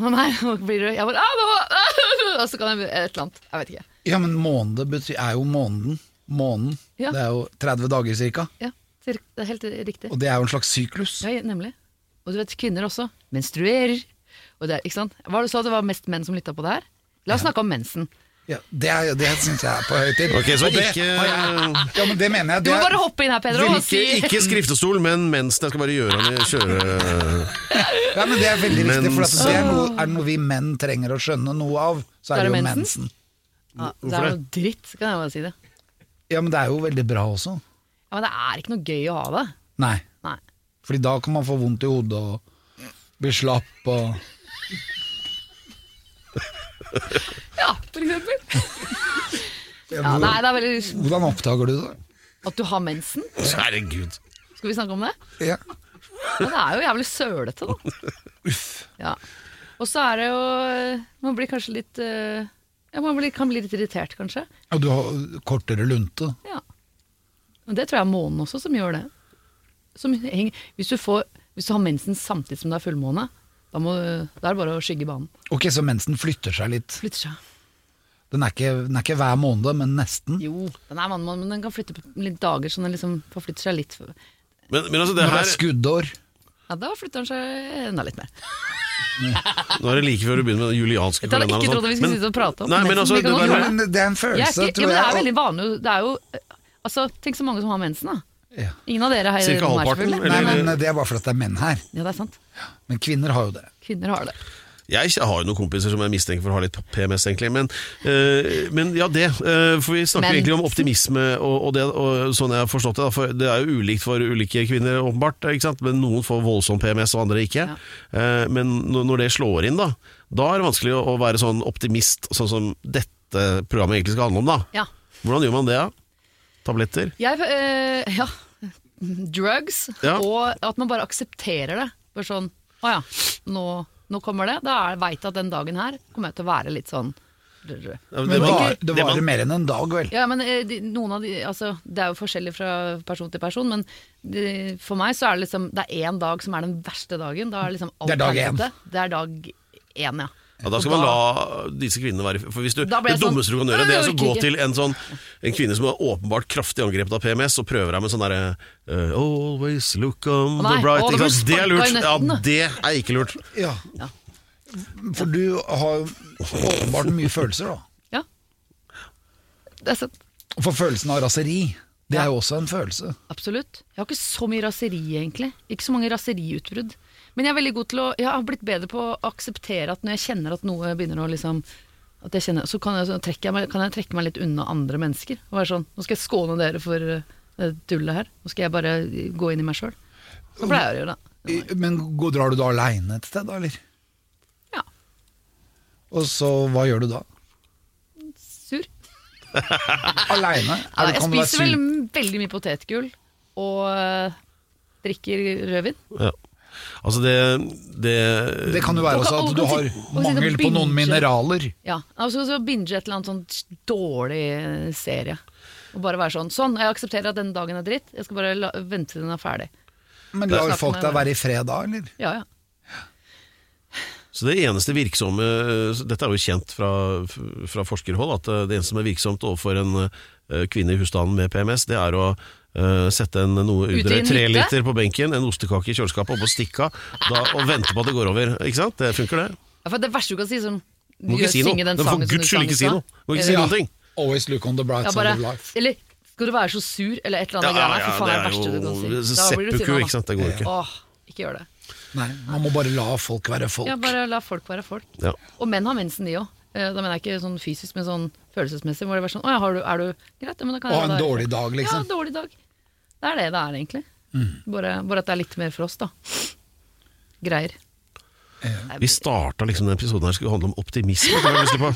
Speaker 4: Å nei. Og blir det, jeg bare «Ah, nå!» Og så kan jeg et eller annet. Jeg vet ikke.
Speaker 1: Ja, men måned betyr, er jo måneden. Månen.
Speaker 4: Ja.
Speaker 1: Det er jo 30 dager cirka.
Speaker 4: Ja, det er- det er helt riktig.
Speaker 1: Og det er jo en slags syklus.
Speaker 4: Ja, nemlig. Og du vet, kvinner også menstruerer. Og det, er- ikke sant? Hva var det du sa, det var mest menn som lytta på det her? La oss snakke om mensen.
Speaker 1: Ja, det er- det syns jeg er på høy tid.
Speaker 2: Ok, så
Speaker 1: Og det,
Speaker 2: ikke-
Speaker 1: har jeg- Ja, men det mener jeg.
Speaker 4: Du
Speaker 1: det
Speaker 4: må
Speaker 1: er-
Speaker 4: bare hoppe inn her, Pedro,
Speaker 2: Ikke,
Speaker 4: og si
Speaker 2: ikke skriftestol, men mensen. Jeg skal bare gjøre han i kjøre...
Speaker 1: Ja, men Det er veldig riktig, for at
Speaker 2: Mens-
Speaker 1: det er noe, er det noe vi menn trenger å skjønne noe av, så er det jo
Speaker 4: mensen?
Speaker 1: mensen.
Speaker 4: ja, Det er noe dritt, så kan jeg bare si det.
Speaker 1: Ja, men det er jo veldig bra også.
Speaker 4: Ja, Men det er ikke noe gøy å ha det.
Speaker 1: Nei,
Speaker 4: Nei.
Speaker 1: fordi da kan man få vondt i hodet og bli slapp og
Speaker 4: Ja, for eksempel.
Speaker 1: ja,
Speaker 4: Ja, nei,
Speaker 1: hvor-
Speaker 4: det er veldig
Speaker 1: Hvordan oppdager du det?
Speaker 4: At du har mensen?
Speaker 2: Herregud.
Speaker 4: Skal vi snakke om det?
Speaker 1: Ja.
Speaker 4: Ja, det er jo jævlig sølete, da. Ja. Og så er det jo Man blir kanskje litt eh, Ja, man blir, kan bli litt irritert, kanskje.
Speaker 1: Og du har kortere lunte.
Speaker 4: Ja. Men det tror jeg er månen også som gjør det. Som henger, hvis, du får, hvis du har mensen samtidig som det er fullmåne, da, må, da er det bare å skygge banen.
Speaker 1: Ok, så mensen flytter seg litt.
Speaker 4: Flytter seg.
Speaker 1: Den er ikke, den er ikke hver måned, men nesten.
Speaker 4: Jo, den er vannmann, men den kan flytte på litt dager, så den liksom forflytter seg litt. Ja,
Speaker 2: Men, men altså,
Speaker 1: Når det
Speaker 2: det her
Speaker 1: er skuddår.
Speaker 4: da flytter den seg enda litt mer.
Speaker 2: Nå er det like før du begynner med den julianske
Speaker 4: Dette hadde jeg
Speaker 2: kalenderen.
Speaker 4: ikke
Speaker 2: og
Speaker 4: trodd vi
Speaker 2: sånt.
Speaker 4: skulle
Speaker 2: Men-
Speaker 4: sitte og prate om.
Speaker 2: Nei, men
Speaker 4: mensen.
Speaker 2: altså,
Speaker 4: Vi kan
Speaker 2: det
Speaker 4: godt
Speaker 2: der-
Speaker 4: gjøre
Speaker 1: Men det er en følelse,
Speaker 4: Jeg er ikke,
Speaker 1: tror
Speaker 4: ja, men det er
Speaker 1: jeg.
Speaker 4: veldig vanlig. Det er jo, altså, tenk så mange som har mensen, da.
Speaker 1: Ja.
Speaker 4: Ingen av dere har
Speaker 2: Cirka
Speaker 4: rommet
Speaker 2: halvparten,
Speaker 4: her, selvfølgelig.
Speaker 1: Nei,
Speaker 2: eller-
Speaker 1: men Det er bare fordi det er menn her.
Speaker 4: Ja, det er sant.
Speaker 1: Men kvinner har jo det.
Speaker 4: Kvinner har det.
Speaker 2: Jeg har jo noen kompiser som jeg mistenker for å ha litt PMS, egentlig. Men, øh, men ja, det. øh, for vi snakker
Speaker 4: Men-
Speaker 2: egentlig om optimisme og, og det, og sånn jeg har forstått det. Da, for det er jo ulikt for ulike kvinner, åpenbart. Ikke sant? Men noen får voldsom PMS, og andre ikke. Eh, men når, når det slår inn, da, da er det vanskelig å, å være sånn optimist, sånn som dette programmet egentlig skal handle om, da.
Speaker 4: Ja.
Speaker 2: Hvordan gjør man det, da? Tabletter?
Speaker 4: Jeg, eh, ja. Drugs,
Speaker 2: Ja.
Speaker 4: og at man bare aksepterer det. Bare sånn Å ja, nå, nå kommer det. Da veit jeg at den dagen her kommer jeg til å være litt sånn
Speaker 2: Ja,
Speaker 1: Men det,
Speaker 2: man-
Speaker 1: var, det
Speaker 2: det
Speaker 1: varer
Speaker 2: man-
Speaker 1: mer enn en dag, vel.
Speaker 4: Ja, men eh, de, noen av de Altså, det er jo forskjellig fra person til person, men de, for meg så er det liksom Det er én dag som er den verste dagen. Da er liksom alt
Speaker 1: Det er dag én.
Speaker 4: helvete. Det er dag én, ja.
Speaker 2: Ja, da skal
Speaker 4: Og
Speaker 2: man la disse kvinnene være For hvis du,
Speaker 4: Da ble
Speaker 2: Det
Speaker 4: jeg sånn,
Speaker 2: dummeste du kan gjøre,
Speaker 4: «Nei,
Speaker 2: det er å
Speaker 4: jeg orker
Speaker 2: gå
Speaker 4: ikke».
Speaker 2: til en, sånn, en kvinne som er åpenbart kraftig angrepet av PMS, og prøver deg med sånn derre eh, Always look on
Speaker 4: Å nei,
Speaker 2: the bright
Speaker 4: å, da
Speaker 2: ikke
Speaker 4: blir
Speaker 2: sant?
Speaker 4: du
Speaker 2: Det er lurt.
Speaker 4: sparket i
Speaker 2: Ja,
Speaker 4: nøtten, da.
Speaker 2: det er ikke lurt.
Speaker 1: Ja.
Speaker 4: Ja.
Speaker 1: For du har jo åpenbart mye følelser, da.
Speaker 4: Ja. Det er sant.
Speaker 1: For følelsen av raseri, det er jo også en følelse.
Speaker 4: Absolutt. Jeg har ikke så mye raseri, egentlig. Ikke så mange raseriutbrudd. Men jeg er veldig god til å Jeg har blitt bedre på å akseptere at når jeg kjenner at noe begynner å liksom at jeg kjenner, Så kan jeg, så trekker jeg meg, kan jeg trekke meg litt unna andre mennesker. Og være sånn Nå skal jeg skåne dere for eh, det tullet her. Nå skal jeg bare gå inn i meg sjøl. Så pleier jeg å gjøre det.
Speaker 1: I- Men gå- drar du da aleine et sted, da, eller?
Speaker 4: Ja.
Speaker 1: Og så hva gjør du da?
Speaker 4: Sur.
Speaker 1: Aleine?
Speaker 4: Ja, jeg spiser vel veldig mye potetgull og eh, drikker rødvin.
Speaker 2: Ja. Altså det, det,
Speaker 1: Det kan jo være
Speaker 4: Og
Speaker 1: også
Speaker 4: kan-
Speaker 1: at
Speaker 4: og
Speaker 1: du
Speaker 4: kan
Speaker 1: har
Speaker 4: si- og si det
Speaker 1: mangel på noen
Speaker 4: binge.
Speaker 1: mineraler.
Speaker 4: Ja, altså så binge et eller annet sånn dårlig eh, serie. Og bare være sånn. Sånn, jeg aksepterer at den dagen er dritt. Jeg skal bare la, vente til den er ferdig.
Speaker 1: Men
Speaker 4: snakker
Speaker 1: lar
Speaker 4: med
Speaker 1: folk deg
Speaker 4: deg.
Speaker 1: være i fred da, eller?
Speaker 4: Ja, ja.
Speaker 2: Så det eneste virksomme Dette er jo kjent fra, fra forskerhold, at eh, det eneste som er virksomt overfor en eh, kvinne i husstanden med PMS, det er å eh, sette en noe
Speaker 4: i
Speaker 2: udre
Speaker 4: en
Speaker 2: tre
Speaker 4: hytte?
Speaker 2: liter på benken, en ostekake i kjøleskapet, opp og stikke av da- og vente på at det går over. Ikke sant? Det funker, det.
Speaker 4: Ja, For det verste du kan si, sånn
Speaker 2: Du må ikke
Speaker 4: gjør-
Speaker 2: si noe.
Speaker 4: synge den
Speaker 2: Du må
Speaker 4: sangen
Speaker 2: for
Speaker 4: som
Speaker 2: guds
Speaker 4: du sang
Speaker 2: skyld
Speaker 4: i
Speaker 2: ikke si
Speaker 4: stad.
Speaker 2: noe. Du må ikke si
Speaker 1: Ja.
Speaker 2: noen ting.
Speaker 1: Always look on the bright
Speaker 4: Ja,
Speaker 1: side
Speaker 4: bare,
Speaker 1: of life.
Speaker 4: eller skal du være så sur, eller et eller annet greier. Fy faen, det er det verste du kan si. Da blir du
Speaker 2: seppuku,
Speaker 4: sinna, da.
Speaker 2: ikke sant. Det går ikke.
Speaker 4: Åh, ikke gjør det.
Speaker 1: Nei, man må bare la folk være folk.
Speaker 4: Ja, bare la folk være folk.
Speaker 2: Ja.
Speaker 4: Og menn har mensen, de òg. Da mener jeg ikke sånn fysisk, men sånn følelsesmessig. Hvor det er sånn, å, ja, har du, er du greit, ja, men da kan
Speaker 1: Og
Speaker 4: jeg
Speaker 1: ha
Speaker 4: la
Speaker 1: en
Speaker 4: deg-
Speaker 1: dårlig dag,
Speaker 4: Ja,
Speaker 1: liksom. Mm.
Speaker 4: dårlig dag. Det er det det er, egentlig. Bare, bare at det er litt mer for oss, da. Greier.
Speaker 2: Vi starta liksom den episoden her skulle handle om optimisme. Kom jeg plutselig på.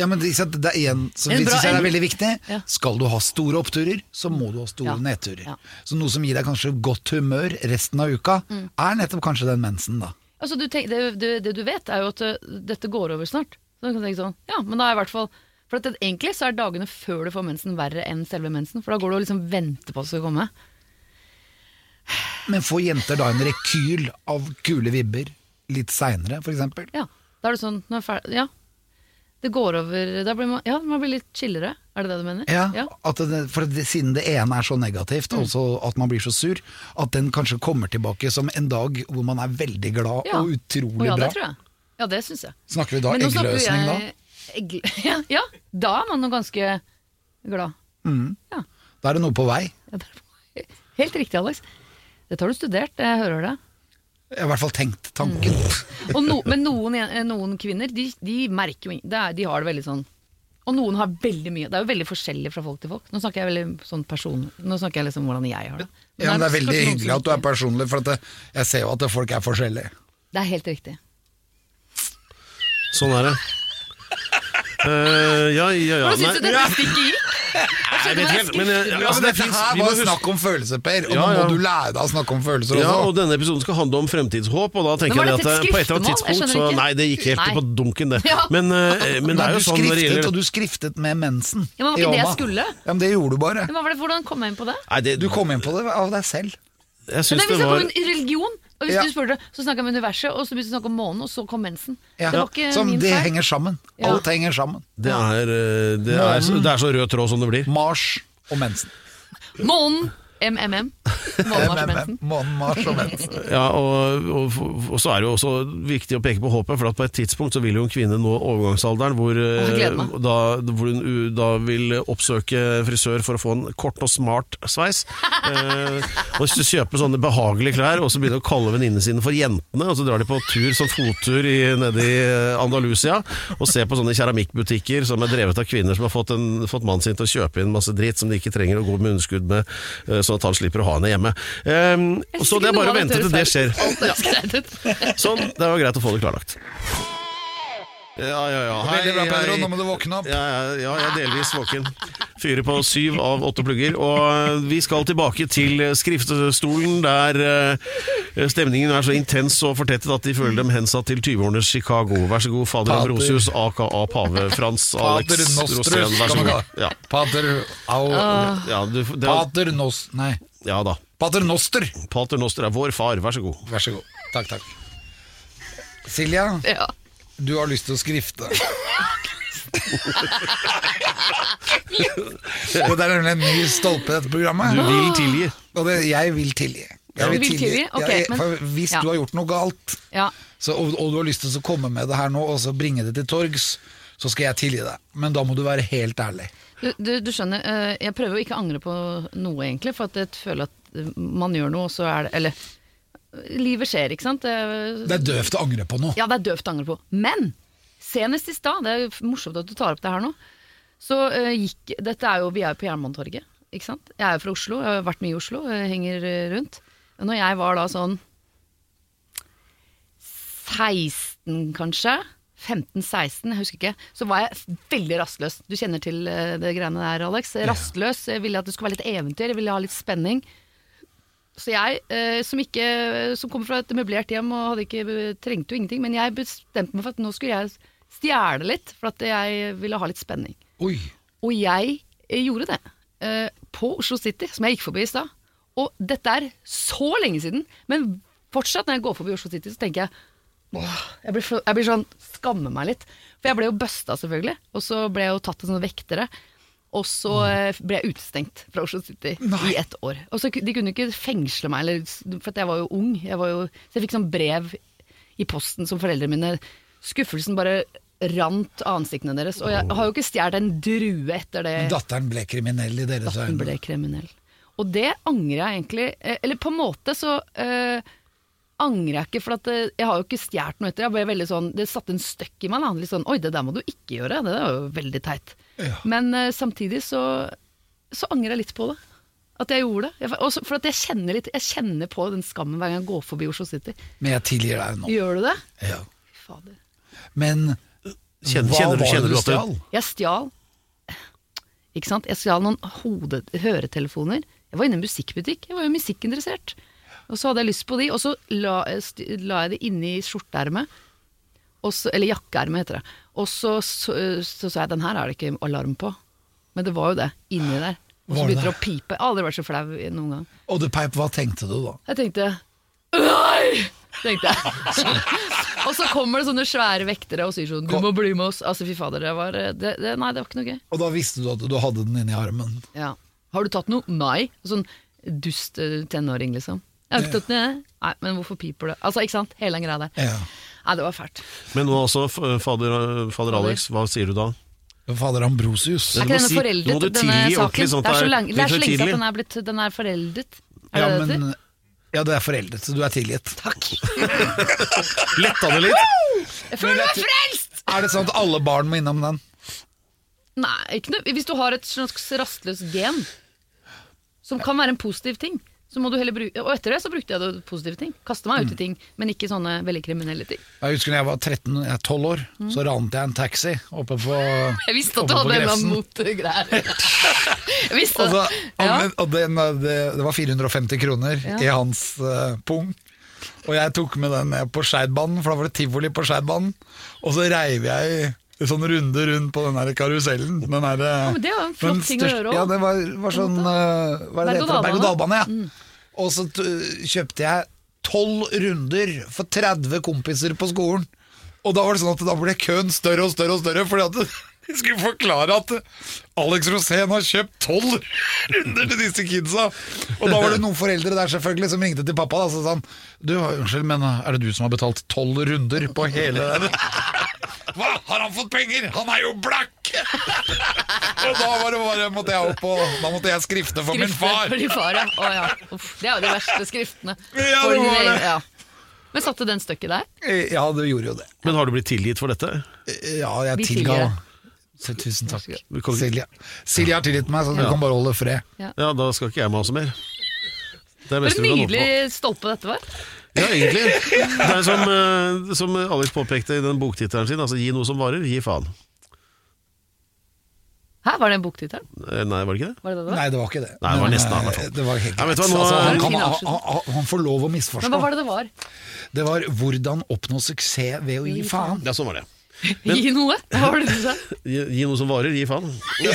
Speaker 1: Ja, men ikke sant, Det er en som
Speaker 4: En
Speaker 1: vi
Speaker 4: bra-
Speaker 1: synes er
Speaker 4: en-
Speaker 1: veldig viktig.
Speaker 4: Ja.
Speaker 1: Skal du ha store oppturer, så må du ha store
Speaker 4: Ja.
Speaker 1: nedturer.
Speaker 4: Ja.
Speaker 1: Så noe som gir deg kanskje godt humør resten av uka,
Speaker 4: Mm.
Speaker 1: er nettopp kanskje den mensen, da.
Speaker 4: Altså, du tenk, det, det, det du vet, er jo at ø, dette går over snart. Så du kan tenke sånn, ja, men da er jeg i hvert fall For at det, egentlig så er dagene før du får mensen verre enn selve mensen. For da går du og liksom venter på at det skal komme.
Speaker 1: Men får jenter da en rekyl av kule vibber litt seinere, f.eks.?
Speaker 4: Ja, da er det sånn, nå er jeg ferdig, ja. Det går over, da blir man, ja, man blir litt chillere, er det det du mener?
Speaker 1: Ja, at det, for det, siden det ene er så negativt,
Speaker 4: Mm.
Speaker 1: altså at man blir så sur, at den kanskje kommer tilbake som en dag hvor man er veldig glad
Speaker 4: Ja.
Speaker 1: og utrolig
Speaker 4: Å, ja,
Speaker 1: bra. Sånn
Speaker 4: det tror jeg. Ja, det synes jeg.
Speaker 1: Snakker vi da
Speaker 4: Men nå snakker
Speaker 1: eggløsning, da?
Speaker 4: jeg- Egg, ja, ja, da er man jo ganske glad.
Speaker 1: Mm.
Speaker 4: Ja,
Speaker 1: Da er det noe på vei.
Speaker 4: ja, det er- helt riktig, Alex. Dette har du studert, jeg hører det.
Speaker 1: Jeg har i hvert fall tenkt tanken.
Speaker 4: Mm. Og no, men noen, eh, noen kvinner, de, de merker jo ing- det er, De har det veldig sånn Og noen har veldig mye. Det er jo veldig forskjellig fra folk til folk. Nå snakker jeg veldig sånn person Nå snakker jeg liksom hvordan jeg har det. Men
Speaker 1: Ja, men det er veldig
Speaker 4: kanskje noen
Speaker 1: hyggelig
Speaker 4: som
Speaker 1: at du er
Speaker 4: ikke-
Speaker 1: personlig, for at det, jeg ser jo at det- folk er forskjellige.
Speaker 4: Det er helt riktig.
Speaker 2: Sånn er det. Eh, ja, ja, ja.
Speaker 4: Hvordan
Speaker 2: Nei,
Speaker 4: syns du dette stikket gikk?
Speaker 2: jeg vet ikke helt, men, eh,
Speaker 1: Ja,
Speaker 2: altså,
Speaker 1: men
Speaker 2: det
Speaker 1: dette
Speaker 2: finnes-
Speaker 1: her
Speaker 2: vi må
Speaker 1: var
Speaker 2: huske-
Speaker 1: snakk om følelser, Per, og
Speaker 2: Ja,
Speaker 1: nå
Speaker 2: ja.
Speaker 1: må du lære deg å snakke om følelser
Speaker 2: Ja, og
Speaker 1: også.
Speaker 2: denne episoden skal handle om fremtidshåp, og da tenker
Speaker 4: Men
Speaker 2: jeg
Speaker 4: var
Speaker 2: at eh,
Speaker 4: dette et
Speaker 2: på et eller annet
Speaker 4: skriftemål? Jeg
Speaker 2: tidspunkt
Speaker 4: skjønner
Speaker 2: så
Speaker 4: ikke.
Speaker 2: Nei, det gikk helt
Speaker 4: Nei.
Speaker 2: på dunken, det.
Speaker 4: Ja.
Speaker 2: Men, eh, men det
Speaker 1: Nei,
Speaker 2: er
Speaker 1: du
Speaker 2: jo sånn når det
Speaker 1: skriftet, og
Speaker 2: gjelder
Speaker 1: du skriftet med mensen.
Speaker 4: Ja, men var
Speaker 1: i
Speaker 4: ikke det jeg
Speaker 1: hånda.
Speaker 4: skulle?
Speaker 1: Ja, men det gjorde du bare.
Speaker 4: Men hva var det, hvordan kom jeg inn på det?
Speaker 2: Nei, det,
Speaker 1: Du kom inn på det av deg selv.
Speaker 2: Jeg
Speaker 4: Men
Speaker 2: syns
Speaker 4: vi
Speaker 2: det
Speaker 4: snakket
Speaker 2: var
Speaker 4: om en religion, og hvis
Speaker 1: Ja.
Speaker 4: du spurte, så snakket jeg om universet, og så begynte vi å snakke om månen, og så kom mensen.
Speaker 1: Ja.
Speaker 4: Det var ikke
Speaker 1: Som
Speaker 4: min
Speaker 1: det
Speaker 4: feil.
Speaker 1: henger sammen.
Speaker 4: Ja.
Speaker 1: Alt henger sammen.
Speaker 2: det er, eh, det, er, så- det er så rød tråd som det blir.
Speaker 1: Mars og mensen. Eh,
Speaker 4: Månen! MMM. Månen har som mensen.
Speaker 1: Månen, Mars og mensen.
Speaker 2: Ja, og, og, og så er det jo også viktig å peke på håpet, for at på et tidspunkt så vil jo en kvinne nå overgangsalderen hvor, eh,
Speaker 4: Å, jeg gleder meg.
Speaker 2: da, hvor hun u- da vil oppsøke frisør for å få en kort og smart sveis. Eh, og så kjøpe sånne behagelige klær, og så begynner å kalle venninnene sine for jentene, og så drar de på tur som fottur i, nede i eh, Andalusia, og ser på sånne keramikkbutikker som er drevet av kvinner som har fått, en, fått mannen sin til å kjøpe inn masse dritt som de ikke trenger å gå med underskudd med, eh, sånn at han slipper å ha henne hjemme. Eh,
Speaker 4: Jeg synes
Speaker 2: så det er
Speaker 4: ikke noe
Speaker 2: bare å
Speaker 4: av
Speaker 2: vente til det
Speaker 4: høres
Speaker 2: skjer.
Speaker 4: Alt er skrevet ut.
Speaker 2: Sånn, det var greit å få det klarlagt. Ja, ja, ja.
Speaker 1: Veldig bra, Pedro. Nå må du våkne opp.
Speaker 2: Ja, ja, ja, jeg er delvis våken. Fyrer på syv av åtte plugger. Og eh, vi skal tilbake til skriftestolen, der eh, stemningen er så intens og fortettet at de føler dem hensatt til 20-årenes Chicago. Vær så god, fader
Speaker 1: Pater.
Speaker 2: Ambrosius, aka Pave Frans
Speaker 1: Pater
Speaker 2: Alex
Speaker 1: Nostrus,
Speaker 2: Rosén. Vær
Speaker 1: kan
Speaker 2: så
Speaker 1: man
Speaker 2: god.
Speaker 1: kalle
Speaker 2: Ja,
Speaker 1: det. Pater
Speaker 4: Ah.
Speaker 1: au,
Speaker 2: ja, du, det er,
Speaker 1: Pater nos... Nei.
Speaker 2: ja da.
Speaker 1: Pater noster.
Speaker 2: Pater Noster er vår far, vær så god.
Speaker 1: Vær så god. Takk, takk. Silja,
Speaker 4: Ja.
Speaker 1: du har lyst til å skrifte. Dette er nemlig en ny stolpe i dette programmet.
Speaker 2: Du vil tilgi.
Speaker 1: Og det, jeg vil tilgi.
Speaker 4: Du
Speaker 1: Jeg
Speaker 4: vil tilgi? Ok,
Speaker 1: Jeg-
Speaker 4: men-
Speaker 1: for hvis
Speaker 4: ja.
Speaker 1: du har gjort noe galt,
Speaker 4: ja.
Speaker 1: så, og, og du har lyst til å komme med det her nå, og så bringe det til torgs, så skal jeg tilgi deg. Men da må du være helt ærlig.
Speaker 4: Du, du, du skjønner, eh, jeg prøver jo ikke å angre på noe, egentlig, for at jeg føler at eh, man gjør noe, og så er det Eller livet skjer, ikke sant? Det-
Speaker 1: Det er døvt å angre på noe.
Speaker 4: Ja, det er døvt å angre på. Men senest i stad, det er jo f- morsomt at du tar opp det her nå, så eh, gikk Dette er jo Vi er jo på Jernbanetorget, ikke sant. Jeg er jo fra Oslo, jeg har vært mye i Oslo, eh, henger eh, rundt. Når jeg var da sånn 16, kanskje. 15-16, jeg husker ikke. Så var jeg f- veldig rastløs. Du kjenner til eh, det greiene der, Alex. Rastløs. Jeg ville at det skulle være litt eventyr, jeg ville ha litt spenning. Så jeg, eh, som, ikke, som kommer fra et møblert hjem og hadde ikke, trengte jo ingenting, men jeg bestemte meg for at nå skulle jeg stjele litt, for at jeg ville ha litt spenning.
Speaker 1: Oi.
Speaker 4: Og jeg eh, gjorde det. eh, På Oslo City, som jeg gikk forbi i stad. Og dette er så lenge siden, men fortsatt når jeg går forbi Oslo City, så tenker jeg Åh, jeg blir, så- jeg blir sånn Skammer meg litt. For jeg ble jo busta, selvfølgelig. Og så ble jeg jo tatt av sånne vektere. Og så eh, ble jeg utestengt fra Oslo City i ett år. Og så, ku- De kunne ikke fengsle meg, eller, s- for at jeg var jo ung. Jeg var jo, så jeg fikk sånn brev i posten som foreldrene mine. Skuffelsen bare rant av ansiktene deres. Og jeg har jo ikke stjålet en drue etter det.
Speaker 1: Datteren ble kriminell i deres
Speaker 4: Datteren
Speaker 1: øyne.
Speaker 4: ble kriminell. Og det angrer jeg egentlig eh, Eller på en måte så eh, angrer jeg ikke, for at eh, jeg har jo ikke stjålet noe etter. Jeg ble veldig sånn, Det satte en støkk i meg. Da. Litt sånn Oi, det der må du ikke gjøre. Det er jo veldig teit.
Speaker 1: Ja.
Speaker 4: Men eh, samtidig så, så angrer jeg litt på det. At jeg gjorde det. Jeg, også for at jeg kjenner, litt, jeg kjenner på den skammen hver gang jeg går forbi Oslo City.
Speaker 1: Men jeg tilgir deg nå.
Speaker 4: Gjør du det?
Speaker 1: Ja.
Speaker 4: Fy Fader.
Speaker 1: Men
Speaker 2: Kjenner,
Speaker 1: hva
Speaker 2: kjenner du,
Speaker 1: var det
Speaker 2: kjenner du
Speaker 1: du
Speaker 2: at det,
Speaker 1: stjal?
Speaker 4: Jeg stjal Ikke sant? Jeg stjal noen hode, høretelefoner. Jeg var inne i en musikkbutikk. Jeg var jo musikkinteressert. Og så hadde jeg lyst på de, og så la, eh, st- la jeg det inni skjorteermet. Og så- Eller jakkeermet, heter det. Og så så, så sa jeg den her er det ikke alarm på. Men det var jo det. Inni der. Og så
Speaker 1: Var det
Speaker 4: begynte det
Speaker 1: det?
Speaker 4: å pipe. Jeg har aldri vært så flau i- noen gang.
Speaker 1: Og du Peip, hva tenkte du da?
Speaker 4: Jeg tenkte Nei! tenkte jeg. og så kommer det sånne svære vektere og sier sånn Du må bli med oss. Altså, fy fader, det var det, det, Nei, det var ikke noe gøy.
Speaker 1: Og da visste du at du hadde den inni armen.
Speaker 4: Ja. Har du tatt noe? Nei. Sånn dust eh, tenåring, liksom. Jeg har ikke tatt noe. Nei, men hvorfor piper det? Altså, ikke sant? Hele den greia der.
Speaker 1: Ja.
Speaker 4: Nei, det var fælt.
Speaker 2: Men nå også, f- fader, fader Alex, hva sier du da?
Speaker 1: Fader Ambrosius.
Speaker 4: Er
Speaker 2: må
Speaker 4: ikke denne
Speaker 2: si- nå må
Speaker 4: foreldet,
Speaker 2: du
Speaker 4: denne
Speaker 2: tilgi ordentlig,
Speaker 4: saken?
Speaker 2: sånn at
Speaker 4: det er
Speaker 2: det
Speaker 4: så,
Speaker 2: er
Speaker 4: lang, det er så
Speaker 2: litt
Speaker 4: lenge siden
Speaker 2: tidlig.
Speaker 4: at den er, blitt, den er foreldet. Er
Speaker 1: Ja,
Speaker 4: det det det
Speaker 1: men, ja, du er foreldet, så du er tilgitt.
Speaker 2: Letta det litt?
Speaker 4: heter? Jeg føler
Speaker 1: men
Speaker 4: meg
Speaker 1: vet
Speaker 4: frelst!
Speaker 1: Er det sånn at alle barn må innom den?
Speaker 4: Nei, ikke noe. Hvis du har et slags rastløst gen, som kan være en positiv ting, så må du heller bruke Og etter det så brukte jeg det til positive ting. Kaste
Speaker 2: Mm.
Speaker 4: meg ut i ting, men ikke sånne veldig kriminelle ting.
Speaker 1: Jeg husker da jeg var 13, jeg er 12 år,
Speaker 4: Mm.
Speaker 1: så ranet jeg en taxi oppe på
Speaker 4: Jeg visste at
Speaker 1: oppe
Speaker 4: du
Speaker 1: på
Speaker 4: hadde en eller
Speaker 1: Grefsen.
Speaker 4: annen motegreier. Jeg visste
Speaker 2: Altså,
Speaker 1: Og, så,
Speaker 4: det. altså, Ja.
Speaker 1: anven- og den, eh, det, det var 450 kroner i hans eh, pung. Og jeg tok med den ned på Skeidbanen, for da var det tivoli på Skeidbanen. Og så reiv jeg en sånn runde rundt på den der karusellen. Den der, ja,
Speaker 4: men det var en Sånn flott ting å gjøre også.
Speaker 1: Ja, det var, var sånn eh, Hva er det det heter?
Speaker 4: Berg- og
Speaker 1: Berg-og-dal-bane. Ja.
Speaker 4: Mm.
Speaker 1: Og så t- kjøpte jeg tolv runder for 30 kompiser på skolen. Og da var det sånn at da ble køen større og større og større, fordi at de skulle forklare at Alex Rosén har kjøpt tolv runder til disse kidsa. Og da var det noen foreldre der selvfølgelig som ringte til pappa da, og så sa han Du, unnskyld, men eh, er det du som har betalt tolv runder på hele den? Hva? Har han fått penger? Han er jo blakk! og da var det bare, måtte jeg opp og Da måtte jeg skrifte for min
Speaker 4: Skriftene
Speaker 1: far.
Speaker 4: For din far ja. Å, ja. Uff, det er jo de verste skriftene.
Speaker 1: Ja,
Speaker 4: For
Speaker 1: det
Speaker 4: din
Speaker 1: var
Speaker 4: egen-
Speaker 1: det.
Speaker 4: ja. Men satte den stykket der?
Speaker 1: Eh, Ja, det gjorde jo det. Eh,
Speaker 2: Men har du blitt tilgitt for dette?
Speaker 1: Ja, jeg
Speaker 4: Vi
Speaker 1: tilga.
Speaker 4: tilgir deg.
Speaker 1: Så Tusen takk.
Speaker 2: Vi kan-
Speaker 1: Silje. Silje har tilgitt meg, så du
Speaker 2: Ja.
Speaker 1: kan bare holde fred.
Speaker 2: Ja, da skal ikke jeg med også mer. Det er det
Speaker 4: For
Speaker 2: beste
Speaker 4: en
Speaker 2: vi kan håpe på.
Speaker 4: nydelig stolpe dette var.
Speaker 2: Ja, egentlig. Det er som, eh, som Alex påpekte i den boktittelen sin, altså gi noe som varer, gi faen.
Speaker 4: Her var det en boktittelen.
Speaker 2: Eh, Nei, var det ikke det?
Speaker 4: Var det det det var?
Speaker 1: Nei, det var ikke det.
Speaker 2: Nei, det var
Speaker 1: Men,
Speaker 2: nesten
Speaker 1: eh,
Speaker 2: i hvert fall.
Speaker 1: Det var helt
Speaker 2: Ja, vet
Speaker 1: greit.
Speaker 2: du hva, nå-
Speaker 1: altså, han, kan,
Speaker 4: Det er en fin
Speaker 1: han, han, han får lov å
Speaker 4: Men hva
Speaker 1: misforstå.
Speaker 4: var det det var?
Speaker 1: Det var 'hvordan oppnå suksess ved å gi faen'.
Speaker 2: Ja, sånn var det.
Speaker 4: Gi noe? Hva var det du sa?
Speaker 2: Gi, gi noe som varer, gi faen.
Speaker 4: Det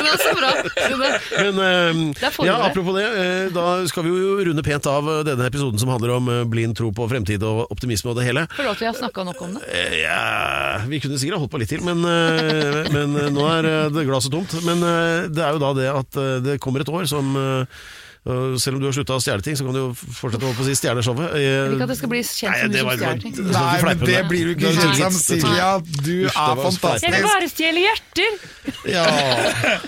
Speaker 4: var så bra. Det var-
Speaker 2: Men eh,
Speaker 4: Der får du
Speaker 2: ja,
Speaker 4: det.
Speaker 2: apropos det, eh, da skal vi jo runde pent av eh, denne episoden som handler om eh, blind tro på fremtid og optimisme og det hele.
Speaker 4: Føler du at vi har snakka nok om det?
Speaker 2: Eh, Ja, vi kunne sikkert holdt på litt til, men, eh, men eh, nå er eh, det glasset tomt. Men eh, det er jo da det at eh, det kommer et år som eh, eh, Selv om du har slutta å stjele ting, så kan du jo fortsette å holde på å si stjele-showet.
Speaker 4: Jeg vil ikke at det skal bli kjent som
Speaker 2: Nei,
Speaker 4: du
Speaker 2: det
Speaker 4: som
Speaker 2: var-
Speaker 4: stjeler ting.
Speaker 2: skal
Speaker 1: Nei,
Speaker 2: ikke
Speaker 1: men
Speaker 2: fleipe med
Speaker 1: det
Speaker 2: det.
Speaker 1: blir du ikke
Speaker 2: Det er
Speaker 1: tilgitt
Speaker 2: tilgitt, det er
Speaker 1: Silja. Du
Speaker 2: Usch, det
Speaker 1: er
Speaker 2: var spleip.
Speaker 4: Jeg vil
Speaker 1: fantastisk.
Speaker 4: bare stjele hjerter!
Speaker 1: Ja.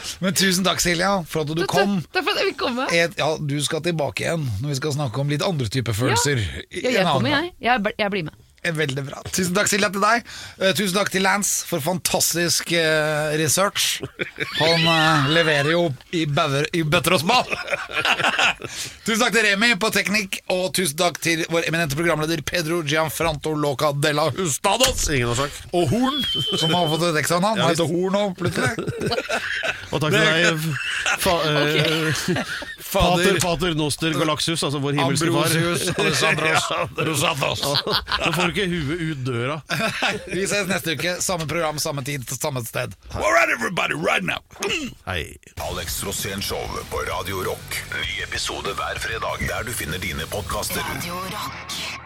Speaker 1: Men tusen takk, Silja, for at du kom.
Speaker 4: Takk for at jeg fikk komme.
Speaker 1: Et, ja, du skal tilbake igjen når vi skal snakke om litt andre typer følelser.
Speaker 4: Ja,
Speaker 1: En
Speaker 4: jeg
Speaker 1: annen
Speaker 4: kommer,
Speaker 1: gang.
Speaker 4: jeg. Jeg, bl- jeg blir med.
Speaker 1: Veldig bra. Tusen takk, Silja, til deg. Eh, tusen takk til Lance for fantastisk eh, research. Han eh, leverer jo i, bauer- i bøtter og spann! tusen takk til Remi på teknikk, og tusen takk til vår eminente programleder Pedro Gianfranto Loca della Hustados.
Speaker 2: Ingen årsak.
Speaker 1: Og Horn, som har fått et ekstra navn. Han heter Horn nå, plutselig.
Speaker 2: Og takk til deg, fa, eh, Pater,
Speaker 1: fader,
Speaker 2: pater, noster, galaksus, altså vår himmelske far.
Speaker 1: Ambrosius, Alessandros, Rosatos.
Speaker 2: Nå får du ikke huet ut døra.
Speaker 1: Vi ses neste uke. Samme program, samme tid, samme sted. All right, everybody, right now.
Speaker 2: Hei.
Speaker 3: Alex Rosén Show på Radio Rock. Ny episode hver fredag der du finner dine podkaster.
Speaker 5: Radio Rock.